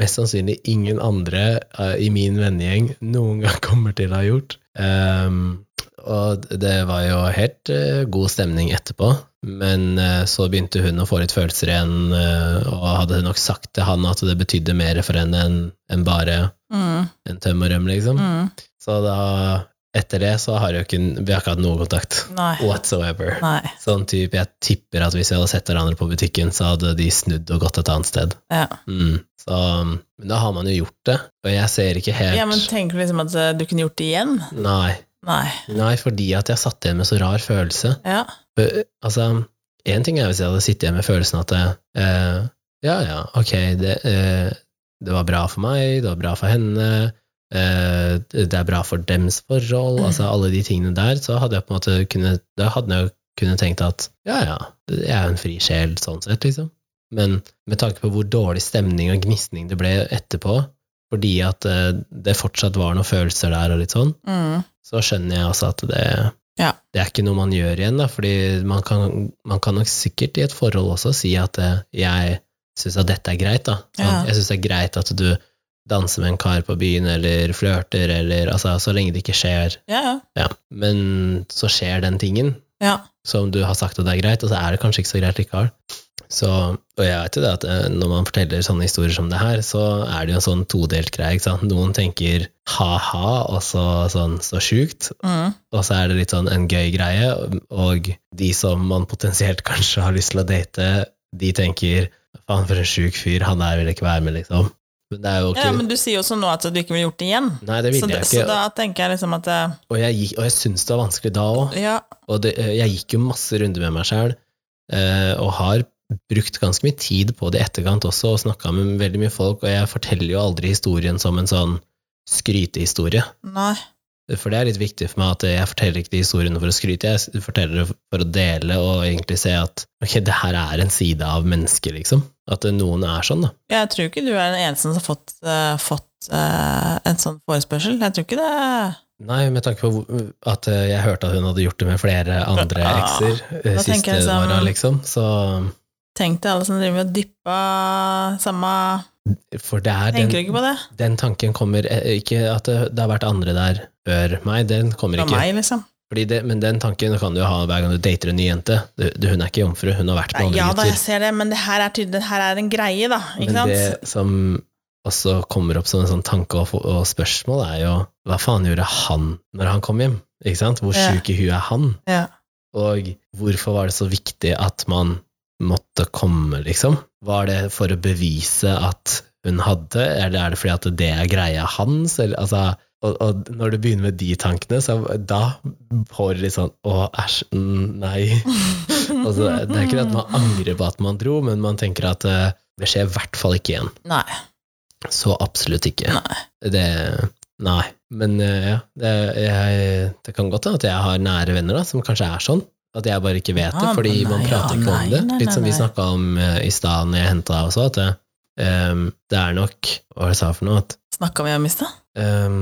mest sannsynlig ingen andre eh, i min vennegjeng noen gang kommer til å ha gjort. Ehm, og det var jo helt eh, god stemning etterpå, men eh, så begynte hun å få litt følelser igjen, eh, og hadde nok sagt til han at det betydde mer for henne enn enn bare Mm. en tøm og røm, liksom. Mm. Så da, etter det, så har jo ikke, vi har ikke hatt noe kontakt Nei. whatsoever. Nei. Sånn typ, jeg tipper at hvis vi hadde sett hverandre på butikken, så hadde de snudd og gått et annet sted. Ja. Mm. Så, men da har man jo gjort det, og jeg ser ikke helt ja, men tenker du liksom at eh, du kunne gjort det igjen? nei. Nei. nei, fordi at jeg satt igjen med så rar følelse. Ja. Ø- Altså, én ting er hvis jeg hadde sittet igjen med følelsen at eh, ja, ja, ok, det, eh, det var bra for meg, det var bra for henne, eh, det er bra for dems forhold, Mm. altså alle de tingene der, så hadde jeg på en måte kunnet Da hadde jeg jo kunnet tenkt at ja, ja, jeg er jo en fri sjel sånn sett, liksom. Men med tanke på hvor dårlig stemning og gnisning det ble etterpå, fordi at eh, det fortsatt var noen følelser der og litt sånn, Mm. så skjønner jeg også at det Ja. Det er ikke noe man gjør igjen, da, fordi man kan, man kan nok sikkert i et forhold også si at eh, jeg syns at dette er greit, da. Ja. Jeg syns det er greit at du danser med en kar på byen, eller flørter, eller altså, så lenge det ikke skjer. Ja, ja. Ja. Men så skjer den tingen ja. som du har sagt at det er greit, og så er det kanskje ikke så greit likevel. Så, og jeg vet jo det at eh, når man forteller sånne historier som det her, så er det jo en sånn todelt greie, ikke sant. Noen tenker ha-ha, og så sånn så sjukt, Mm. og så er det litt sånn en gøy greie, og de som man potensielt kanskje har lyst til å date, de tenker faen for en sjuk fyr, han der vil jeg ikke være med, liksom. Men det er jo ikke ja, men du sier jo også nå at du ikke ville gjort det igjen. Nei, det Så, ville da- jeg så ikke, da tenker jeg liksom at eh, og jeg, gikk- og jeg syns det var vanskelig da òg. Ja, Og det, jeg gikk jo masse runder med meg sjæl, og har brukt ganske mye tid på det i etterkant også, og snakka med veldig mye folk, og jeg forteller jo aldri historien som en sånn skrytehistorie. nei. For det er litt viktig for meg at jeg forteller ikke de historiene for å skryte, jeg forteller det for å dele og egentlig se at ok, det her er en side av mennesket, liksom. At eh, noen er sånn, da. Jeg tror ikke du er den eneste som har fått, eh, fått eh, en sånn forespørsel. Jeg tror ikke det Nei, med tanke på hvor- at eh, jeg hørte at hun hadde gjort det med flere andre Ah, ekser eh, da tenker siste jeg som- åra, liksom. Så Tenk til alle som driver og dypper samme For det er Tenker du ikke på det? den tanken kommer eh, Ikke at det, det har vært andre der før meg, den kommer Fra ikke. meg, liksom. Fordi det, men den tanken kan du ha hver gang du dater en ny jente. Du, du, hun er ikke jomfru, hun har vært Nei, med andre ja da, jeg gutter. ser det, men det her er tydelig, det her er en greie, da. Ikke Men sant? det som også kommer opp som en sånn tanke og, og spørsmål, er jo hva faen gjorde han når han kom hjem? Ikke sant? Hvor Ja. sjuk i huet er han? Ja. Og hvorfor var det så viktig at man måtte komme, liksom? Var det for å bevise at hun hadde, eller er det fordi at det er greia hans? Eller, altså, og, og når du begynner med de tankene, så da får du litt sånn å, æsj, mm, nei. Altså, det er ikke det at man angrer på at man dro, men man tenker at eh, det skjer i hvert fall ikke igjen. Nei. Så absolutt ikke. Nei. Det, nei. Men eh, ja, det, jeg, det kan godt hende at jeg har nære venner da, som kanskje er sånn. At jeg bare ikke vet Ja, det, fordi men man Ah, nei, prater ja, ikke nei, om det. nei, Litt som nei, vi nei. snakka om eh, i stad når jeg henta deg også, at det, ehm, det er nok Hva var det jeg sa for noe? At Snakka vi om i stad? ehm,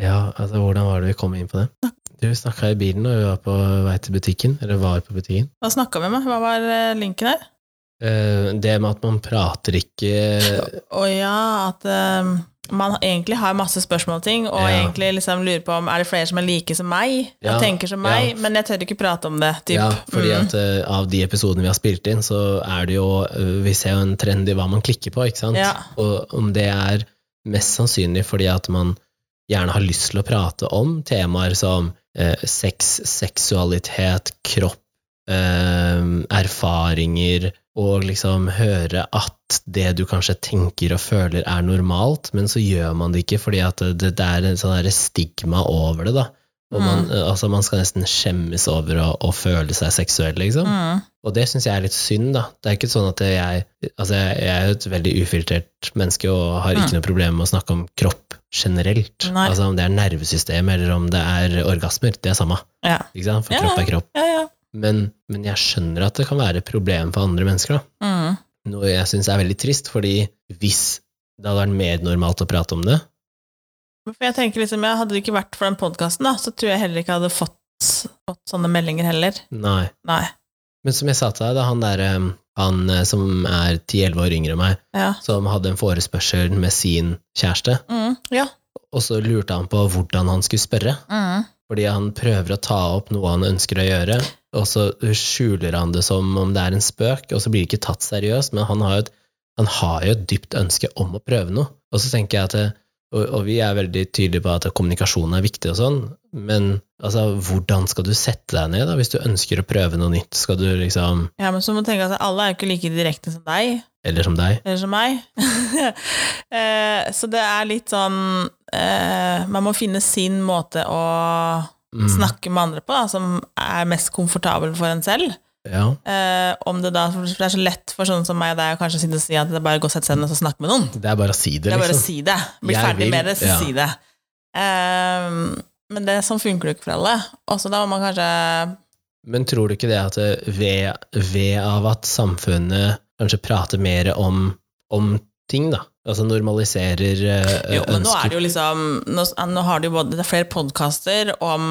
Ja, altså, hvordan var det vi kom inn på det? Du snakka i bilen når vi var på vei til butikken, eller var på butikken. Hva snakka vi med? Hva var eh, linken her? Eh, det med at man prater ikke Å ja, at eh, man egentlig har masse spørsmål og ting, og Ja. egentlig liksom lurer på om er det flere som er like som meg, Ja, og tenker som meg, men jeg tør ikke prate om det. Typ. Ja, fordi Mm. at eh, av de episodene vi har spilt inn, så er det jo eh, Vi ser jo en trend i hva man klikker på, ikke sant? Ja. Og om det er mest sannsynlig fordi at man gjerne har lyst til å prate om temaer som eh, sex, seksualitet, kropp, eh, erfaringer og liksom høre at det du kanskje tenker og føler er normalt, men så gjør man det ikke fordi at det, det er en sånn der stigma over det, da. Og man, eh, altså, man skal nesten skjemmes over å, å føle seg seksuell, liksom. Mm. Og det syns jeg er litt synd, da. Det er ikke sånn at jeg Altså, jeg jeg er jo et veldig ufiltrert menneske og har ikke Mm. noe problem med å snakke om kropp generelt. Nei. Altså om det er nervesystem eller om det er orgasmer, det er samme, Ja. ikke sant? For Ja, kropp er kropp. ja, ja. Men, men jeg skjønner at det kan være et problem for andre mennesker, da. Mm. Noe jeg syns er veldig trist, fordi hvis det hadde vært mer normalt å prate om det For jeg tenker liksom, ja, Hadde det ikke vært for den podkasten, så tror jeg heller ikke jeg hadde fått, fått sånne meldinger heller. Nei. Nei. Men som jeg sa til deg, da han derre han eh, som er 10-11 år yngre enn meg, Ja. som hadde en forespørsel med sin kjæreste, Mm. Ja. og så lurte han på hvordan han skulle spørre. Mm. Fordi han prøver å ta opp noe han ønsker å gjøre, og så skjuler han det som om det er en spøk, og så blir det ikke tatt seriøst, men han har jo et, han har jo et dypt ønske om å prøve noe. Og så tenker jeg at det, og, og vi er veldig tydelige på at kommunikasjon er viktig og sånn, men altså, hvordan skal du sette deg ned da, hvis du ønsker å prøve noe nytt? Skal du liksom, ja, men så må du tenke at alle er jo ikke like direkte som deg, eller som deg, eller som meg. eh, så det er litt sånn eh, Man må finne sin måte å mm, snakke med andre på, da, som er mest komfortabel for en selv. Ja, Eh, om det da, for det er så lett for sånne som meg og deg å kanskje sitte og si at det er bare å gå og sette seg ned og så snakke med noen. det er bare å si det, Det er bare å liksom. si det. Bli Jeg ferdig vil- med det, så ja. si det. Ehm, men det, sånn funker det jo ikke for alle. Også da må man kanskje Men tror du ikke det at det ved, ved av at samfunnet kanskje prater mer om, om ting, da. Altså normaliserer eh, Jo, men nå er ønsker det jo liksom Nå, nå har det jo både, det er flere podkaster om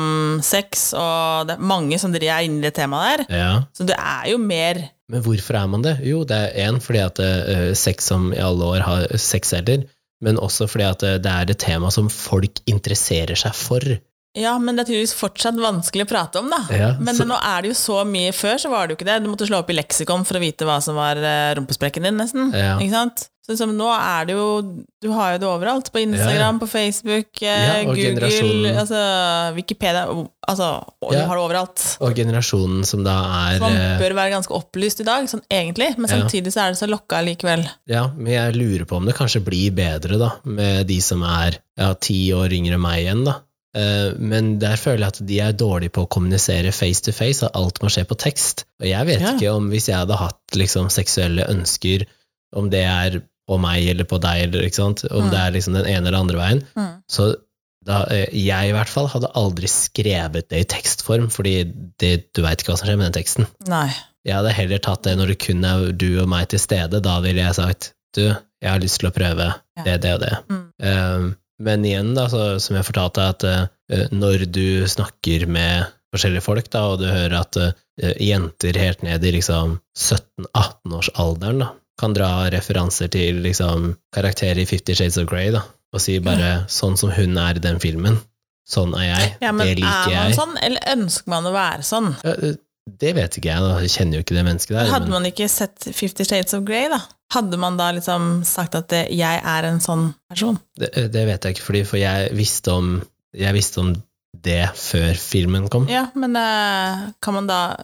sex, og det er mange som driver inn i det temaet der. ja. Så det er jo mer Men hvorfor er man det? Jo, det er én fordi at eh, sex som i alle år har sexselger, men også fordi at eh, det er et tema som folk interesserer seg for. Ja, men det er tydeligvis fortsatt vanskelig å prate om, da. Ja, men Eh, så- nå er det jo så mye Før så var det jo ikke det. Du måtte slå opp i leksikon for å vite hva som var eh, rumpesprekken din, nesten. Ja. Ikke sant? Så liksom, nå er det jo Du har jo det overalt. På Instagram, på Facebook, eh, Ja, og Google, generasjonen. altså Wikipedia o- Altså, og Ja. du har det overalt. Og generasjonen som da Så er man eh, bør være ganske opplyst i dag, sånn egentlig, men Ja. samtidig så er det så lokka likevel. Ja, men jeg lurer på om det kanskje blir bedre, da, med de som er ja, ti år yngre enn meg igjen, da. Eh, Men der føler jeg at de er dårlige på å kommunisere face to face, at alt må skje på tekst. Og jeg vet Ja. ikke om hvis jeg hadde hatt liksom, seksuelle ønsker, om det er på meg eller på deg, eller ikke sant, om Mm. det er liksom den ene eller andre veien, Mm. så da, eh, jeg i hvert fall hadde aldri skrevet det i tekstform, fordi det, du veit ikke hva som skjer med den teksten. Nei. Jeg hadde heller tatt det når det kun er du og meg til stede. Da ville jeg sagt du, jeg har lyst til å prøve Ja. det, det og det. Mm. Eh, men igjen, da, så, som jeg fortalte, at eh, når du snakker med forskjellige folk, da, og du hører at eh, jenter helt ned i liksom 17-18-årsalderen da, kan dra referanser til liksom, karakterer i Fifty Shades of Grey, da, og si bare 'sånn som hun er i den filmen', sånn er jeg, Ja, men det er liker man jeg. sånn, eller ønsker man å være sånn? Ja, eh, det vet ikke jeg, da. jeg kjenner jo ikke det mennesket der. Hadde man ikke sett Fifty Shades of Grey, da? Hadde man da liksom sagt at det, 'jeg er en sånn person'? Det, eh, det vet jeg ikke, fordi for jeg visste om, jeg visste om det før filmen kom. Ja, men eh, kan man da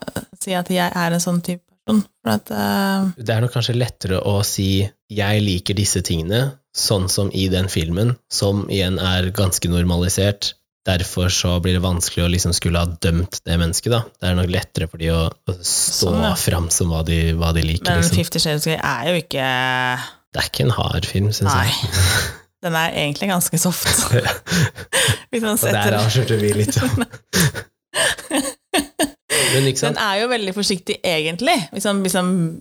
si at 'jeg er en sånn type person'? For at eh, Det er nok kanskje lettere å si 'jeg liker disse tingene', sånn som i den filmen, som igjen er ganske normalisert. Derfor så blir det vanskelig å liksom skulle ha dømt det mennesket, da. Det er nok lettere for de å, å stå Sånn, ja. fram som hva de, hva de liker, Men liksom. Fifty Shades of Grey er jo ikke Det er ikke en hard film, syns Nei. jeg. Den er egentlig ganske soft. Hvis man Og der setter avslørte vi litt. ja. Men ikke Den sant? er jo veldig forsiktig, egentlig. Hvis man liksom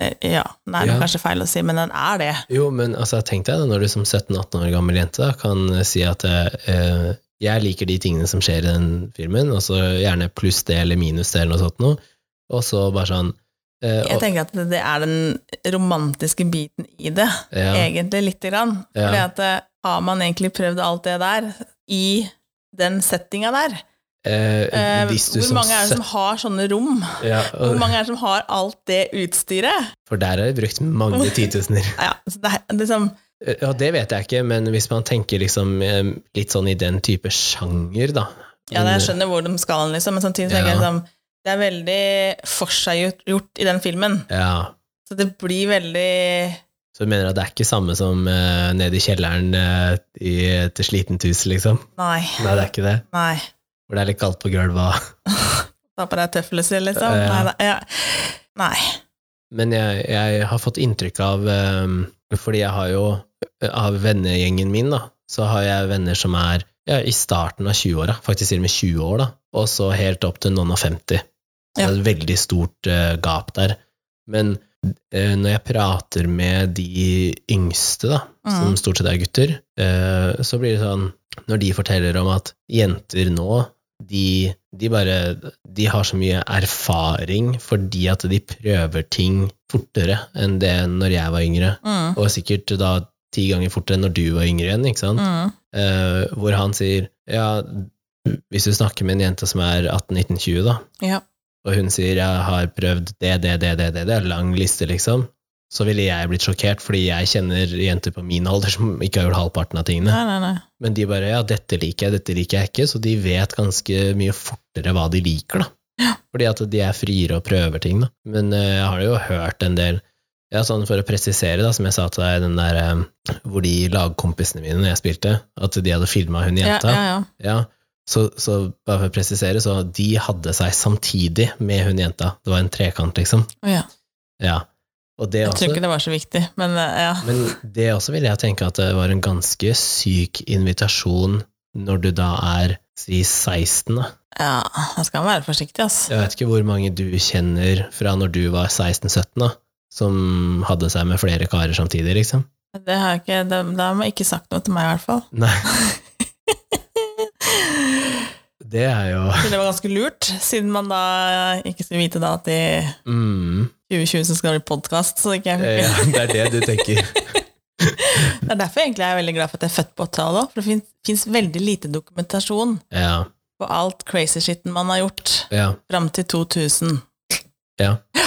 eh, Ja, nei, det er Ja. kanskje feil å si, men den er det. Jo, men altså, tenk deg da, når du som 17-18 år gammel jente da, kan si at eh, jeg liker de tingene som skjer i den filmen, og så gjerne pluss det eller minus det eller noe sånt noe, og så bare sånn eh, Jeg og, tenker at det er den romantiske biten i det. ja, egentlig lite grann. Ja. Fordi at eh, har man egentlig prøvd alt det der i den settinga der? eh, Eh, hvis du hvor som mange er det som har sånne rom? 17 ja, Hvor og, mange er det som har alt det utstyret? For der har vi brukt mange titusener. Ja, så det er liksom Eh, Ja, det vet jeg ikke, men hvis man tenker liksom eh, litt sånn i den type sjanger, da Ja, jeg skjønner hvor de skal hen, liksom, men samtidig tenker Eh, Ja. jeg liksom Det er veldig forseggjort gjort i den filmen, Ja. så det blir veldig Så du mener at det er ikke samme som eh, nede i kjelleren eh, i, til slitent hus, liksom? Nei, Nei, det er ikke det. nei. Hvor det er litt kaldt på gulvet. Ta på deg tøffelser, liksom. Ja. Nei, da, ja. nei. Men jeg, jeg har fått inntrykk av eh, Fordi jeg har jo Av vennegjengen min, da, så har jeg venner som er ja, i starten av 20-åra, faktisk til og med 20 år, da, og så helt opp til noen og 50. Så Det Ja. er et veldig stort eh, gap der. Men eh, når jeg prater med de yngste, da, som Mm. stort sett er gutter, eh, så blir det sånn Når de forteller om at jenter nå de, de bare De har så mye erfaring fordi at de prøver ting fortere enn det når jeg var yngre. Mm. Og sikkert da ti ganger fortere enn når du var yngre igjen, ikke sant? Mm. Eh, hvor han sier ja, hvis du snakker med en jente som er 18-19-20, da, Ja. og hun sier jeg har prøvd det, det, det, det, det, det er lang liste, liksom, så ville jeg blitt sjokkert, fordi jeg kjenner jenter på min alder som ikke har gjort halvparten av tingene. Nei, nei, nei. Men de bare ja, dette liker jeg, dette liker jeg ikke, så de vet ganske mye fortere hva de liker, da. Fordi at de er friere og prøver ting, da. Men eh, jeg har jo hørt en del ja, sånn For å presisere, da, som jeg sa til deg, den der eh, hvor de lagkompisene mine når jeg spilte, at de hadde filma hun Ja, jenta. ja, ja. Ja, så, så bare for å presisere, så de hadde seg samtidig med hun jenta. Det var en trekant, liksom. Å, ja. Ja. altså. Og det Jeg tror også, ikke det var så viktig, men eh, ja. men det også vil jeg tenke at det var en ganske syk invitasjon når du da er si 16, da. Ja, da skal man være forsiktig, ass. Jeg vet ikke hvor mange du kjenner fra når du var 16-17, da, som hadde seg med flere karer samtidig, liksom. Det har jeg ikke, det, det har man ikke sagt noe til meg, i hvert fall. Nei, det er jo Så det var ganske lurt, siden man da ikke skulle vite da at i mm, 2020 så skal det bli podkast. Det eh, er Det er det du tenker. derfor egentlig er jeg veldig glad for at jeg er født på 80-tallet òg, for det fins veldig lite dokumentasjon Ja. på alt crazy shitten man har gjort Ja. fram til 2000. Ja. Ja,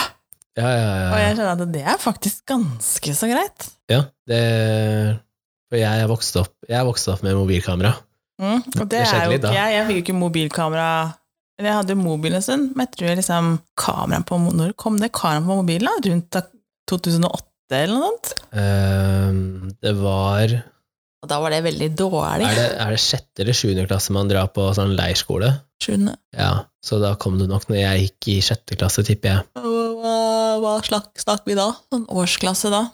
ja, Og ja. jeg skjønner at det er faktisk ganske så greit. ja det, for jeg er vokst opp, jeg er vokst opp med mobilkamera. Mm. Og det Det skjedde er jo litt, da. ikke jeg. Jeg fikk jo ikke mobilkamera Eller jeg hadde jo mobil en stund, men jeg tror jeg liksom kameraet på mo- Når kom det kameraet på mobilen? da? Rundt da 2008 eller noe sånt? Ehm, det var er Og da var det veldig dårlig. det, er det sjette eller sjuende klasse man drar på sånn leirskole? Skjønner. Ja, så da kom det nok når jeg gikk i sjette klasse, tipper jeg. Hva, hva- hva slakk snakker vi da? Sånn årsklasse da?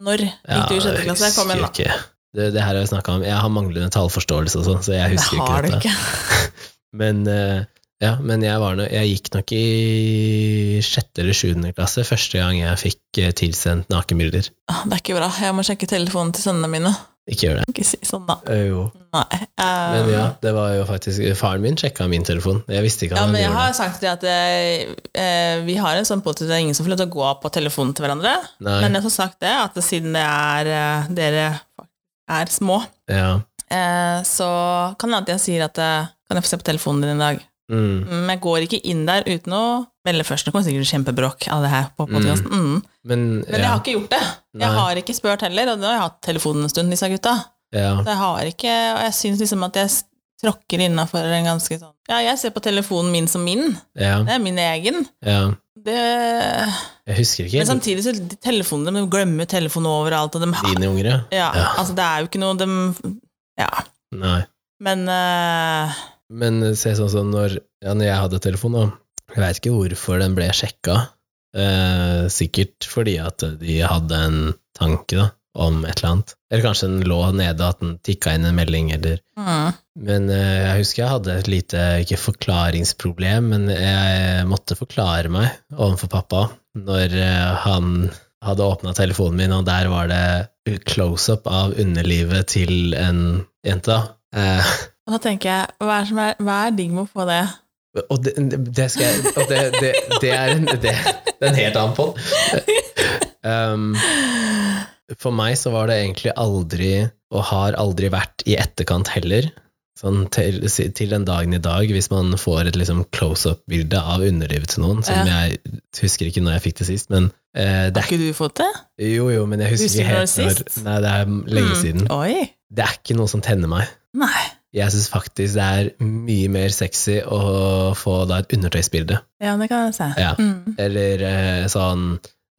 Når Ja, gikk du i sjette klasse? Kom igjen, da. husker ikke. Det, det her har vi snakket om. Jeg har manglende tallforståelse og sånn, så jeg Det husker ikke har du dette. ikke. Men, eh, ja, men jeg, var, nå- jeg gikk nok i sjette eller sjuende klasse første gang jeg fikk eh, tilsendt nakenbilder. Ah, Det er ikke bra. Jeg må sjekke telefonen til sønnene mine. Ikke gjør det. Ikke si sånn, da. Eh, Jo. Nei. Men eh, ja, det var jo faktisk Faren min sjekka min telefon. Jeg visste ikke Ja, at han men jeg gjorde har sagt det at eh, eh, vi har en sånn politikk at det er ingen som får lov til å gå på telefonen til hverandre. det. Nei, Men jeg har sagt det, at siden det er, eh, dere er små, ja. eh, så kan det hende at jeg sier at eh, kan jeg få se på telefonen din i dag? Mm. Men jeg går ikke inn der uten å melde først. Nå kommer det sikkert kjempebråk av det her på podcasten. Mm. Men, Men jeg ja, har ikke gjort det. Nei. Jeg har ikke spurt heller, og nå har jeg hatt telefonen en stund, disse gutta. ja, Så jeg har ikke, og jeg synes liksom at jeg s- tråkker innafor en ganske sånn Ja, jeg ser på telefonen min som min. ja, Det er min egen. ja. Det, Jeg husker ikke men samtidig så de telefonene, de glemmer telefonen overalt, og de har dine unger, ja. ja, Ja. altså det er jo ikke noe de Ja. Nei. Men eh, Men se sånn som når, ja, når jeg hadde telefon, da Jeg veit ikke hvorfor den ble sjekka. Eh, sikkert fordi at de hadde en tanke da, om et eller annet. Eller kanskje den lå nede, at den tikka inn en melding, eller mm, Men eh, jeg husker jeg hadde et lite, ikke forklaringsproblem, men jeg måtte forklare meg overfor pappa når eh, han hadde åpna telefonen min, og der var det close-up av underlivet til en jente. da. Eh, Og da tenker jeg, hva er, det som er, hva er digg med å få det? og det, det skal jeg og det, det, det, er en, det, det er en helt annen podd. Um, for meg så var det egentlig aldri, og har aldri vært i etterkant heller, sånn til, til den dagen i dag, hvis man får et liksom close-up-bilde av underlivet til noen, som jeg husker ikke når jeg fikk det sist, men eh, det Har ikke du fått det? er jo jo, men jeg husker Husker ikke du helt når når sist? Nei, det er lenge Mm. siden. Oi. Det er ikke noe som tenner meg. Nei. Jeg syns faktisk det er mye mer sexy å få da et undertøysbilde. Ja, det kan jeg se. Ja. Mm. eller eh, sånn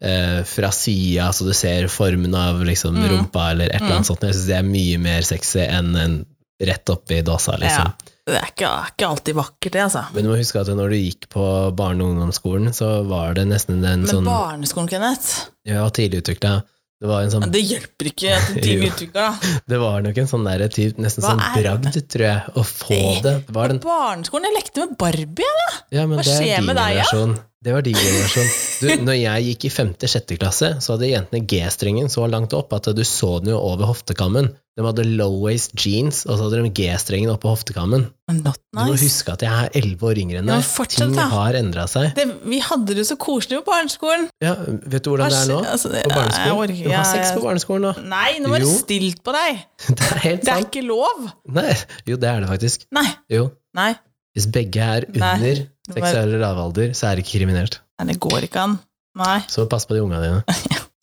eh, fra sida, så du ser formen av liksom, Mm. rumpa, eller et eller Mm. annet sånt. Jeg syns det er mye mer sexy enn en rett oppi dåsa, liksom. Det er ikke, er ikke alltid vakkert, det, altså. Men du må huske at når du gikk på barne- og ungdomsskolen, så var det nesten en Men sånn barneskolen, Kenneth, Ja, tidlig utvikla. Det var, en sånn, det hjelper ikke at du ting Jo. uttrykker, da. det var nok en sånn der, typ, nesten Hva sånn er bragd, tror jeg, å få det. det var den, Barneskolen, jeg lekte med Barbie, jeg. ja, men hva det skjer er din med deg, ja? generasjon. Det var din generasjon. Du, når jeg gikk i femte-sjette klasse, så hadde jentene G-strengen så langt opp at du så den jo over hoftekammen. De hadde low-waist jeans, og så hadde de G-strengen oppå hoftekammen. Men Not Du må nice. huske at jeg er elleve år yngre enn Ja, deg. men fortsatt, Ting da. har endra seg. Det, vi hadde det så koselig på barneskolen. Ja, vet du hvordan det er nå? Altså, På jeg orker- barneskolen? Du har jeg- sex på barneskolen nå. Nei, nå var det Jo. stilt på deg! Det er helt Det er sant. ikke lov! Nei, jo, det er det faktisk. Nei. Jo. Nei. Hvis begge er Nei. under Nå var- seksuell lavalder, så er det ikke kriminelt. Nei, det går ikke an. Nei. Så pass på de unga dine.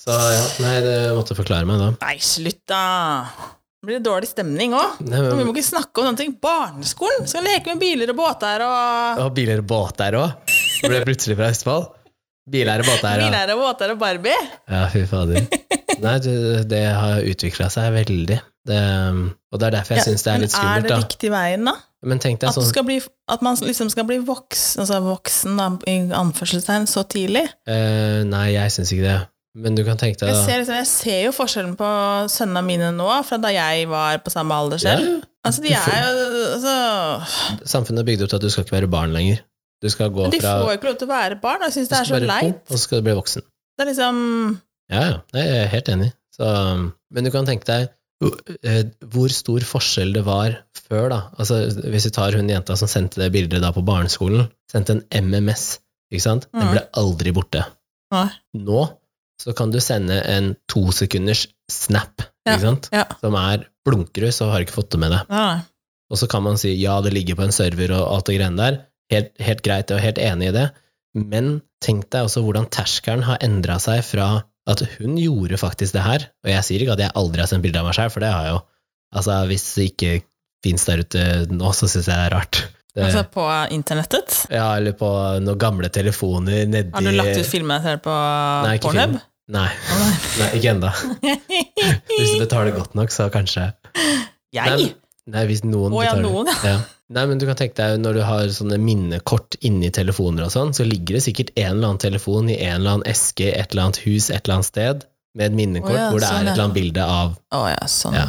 Så ja, nei, det måtte forklare meg da. Nei, slutt, da! Det blir dårlig stemning òg. Nei, Vi men, må ikke snakke om sånne ting. Barneskolen skal leke med biler og båter og og biler og båt der òg? Ble plutselig fra Østfold? Biler og båt der, ja. Biler og båter og Barbie. Ja, fy fader. Nei, du, det har utvikla seg veldig. Det, um, og det er derfor jeg syns det er litt Men er skummelt, det da. riktig veien, da? Men tenk deg At, du sånn skal bli, at man liksom skal bli voksen, altså voksen da, i anførselstegn, så tidlig? eh, Nei, jeg syns ikke det. Men du kan tenke deg Jeg da ser, liksom, jeg ser jo forskjellen på sønnene mine nå, fra da jeg var på samme alder ja, selv. Altså, de Du får- er jo altså, Samfunnet er bygd opp til at du skal ikke være barn lenger. Du skal gå Men de fra får jo ikke lov til å være barn, og jeg syns du det skal er så være leit. ung, Og så skal du bli voksen. Det er liksom Ja, ja. Nei, Jeg er helt enig. Så, um, men du kan tenke deg eh, hvor stor forskjell det var før, da. Altså, hvis vi tar hun jenta som sendte det bildet da på barneskolen, sendte en MMS, ikke sant? Den Mm. ble aldri borte. Nei. Nå så kan du sende en to sekunders snap, Ja, ikke sant? ja. Som er blunkerud, så har du ikke fått det med deg. Nei, nei. Og så kan man si ja, det ligger på en server og alt det greiene der. Helt, helt greit, jeg er helt enig i det. Men tenk deg også hvordan terskelen har endra seg fra at hun gjorde faktisk det her, og jeg sier ikke at jeg aldri har sendt bilde av meg sjøl, for det har jeg jo. Altså, hvis det ikke fins der ute nå, så syns jeg det er rart. Det, Altså på internettet? ja, eller på noen gamle telefoner nedi Har du lagt ut filmene selv på Nei, ikke Pornhub? film. Nei, nei ikke ennå. Hvis du betaler godt nok, så kanskje. Jeg? Nei, hvis noen Å ja, betaler noen, ja. Ja. Nei, men du kan tenke deg Når du har sånne minnekort inni telefoner og sånn, så ligger det sikkert en eller annen telefon i en eller annen eske i et eller annet hus et eller annet sted med et minnekort Å ja, hvor det sånn, er et ja. eller annet bilde av Å ja, sånn. Ja.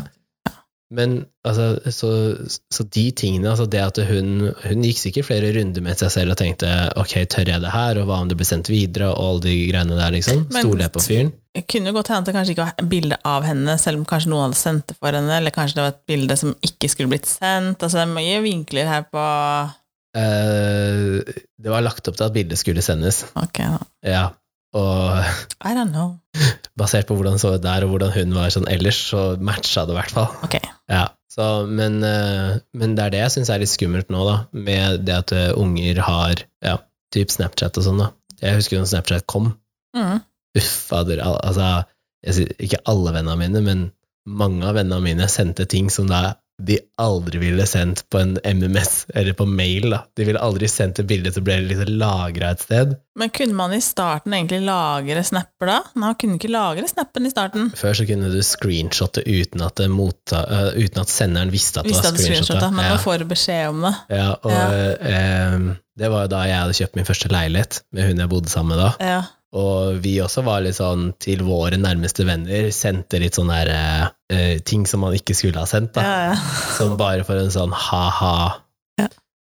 Men altså, så, så de tingene, altså det at hun, hun gikk sikkert flere runder med seg selv og tenkte ok, tør jeg det her, og hva om det blir sendt videre, og alle de greiene der, liksom. Men- Stoler jeg på fyren? Det kunne jo godt hende at det kanskje ikke var bilde av henne, selv om kanskje noen hadde sendt det for henne, eller kanskje det var et bilde som ikke skulle blitt sendt. Altså, det er mye vinkler her på Eh, det var lagt opp til at bildet skulle sendes, Ok, da. ja. Og I don't know. basert på hvordan det så ut der, og hvordan hun var sånn ellers, så matcha det i hvert fall. Ok. Ja, så, men, eh, men det er det jeg syns er litt skummelt nå, da, med det at eh, unger har ja, typ Snapchat og sånn. da. Jeg husker da Snapchat kom. Mm. Uff, fader. al- Altså, jeg sier, ikke alle vennene mine, men mange av vennene mine sendte ting som da de aldri ville sendt på en MMS eller på mail. da. De ville aldri sendt et bilde som ble liksom lagra et sted. Men kunne man i starten egentlig lagre snapper da? Nei, man kunne ikke lagre snappen i starten. Før så kunne du screenshotte uten at, det motta, øh, uten at senderen visste at det Visste var at du screenshotet, screenshotta. men Ja, man får beskjed om det. ja, og Ja. øh, det var jo da jeg hadde kjøpt min første leilighet med hun jeg bodde sammen med da. Ja. Og vi også var litt sånn til våre nærmeste venner, sendte litt sånne her, øh, øh, ting som man ikke skulle ha sendt. da. Ja, ja. Som bare for en sånn ha-ha. Ja.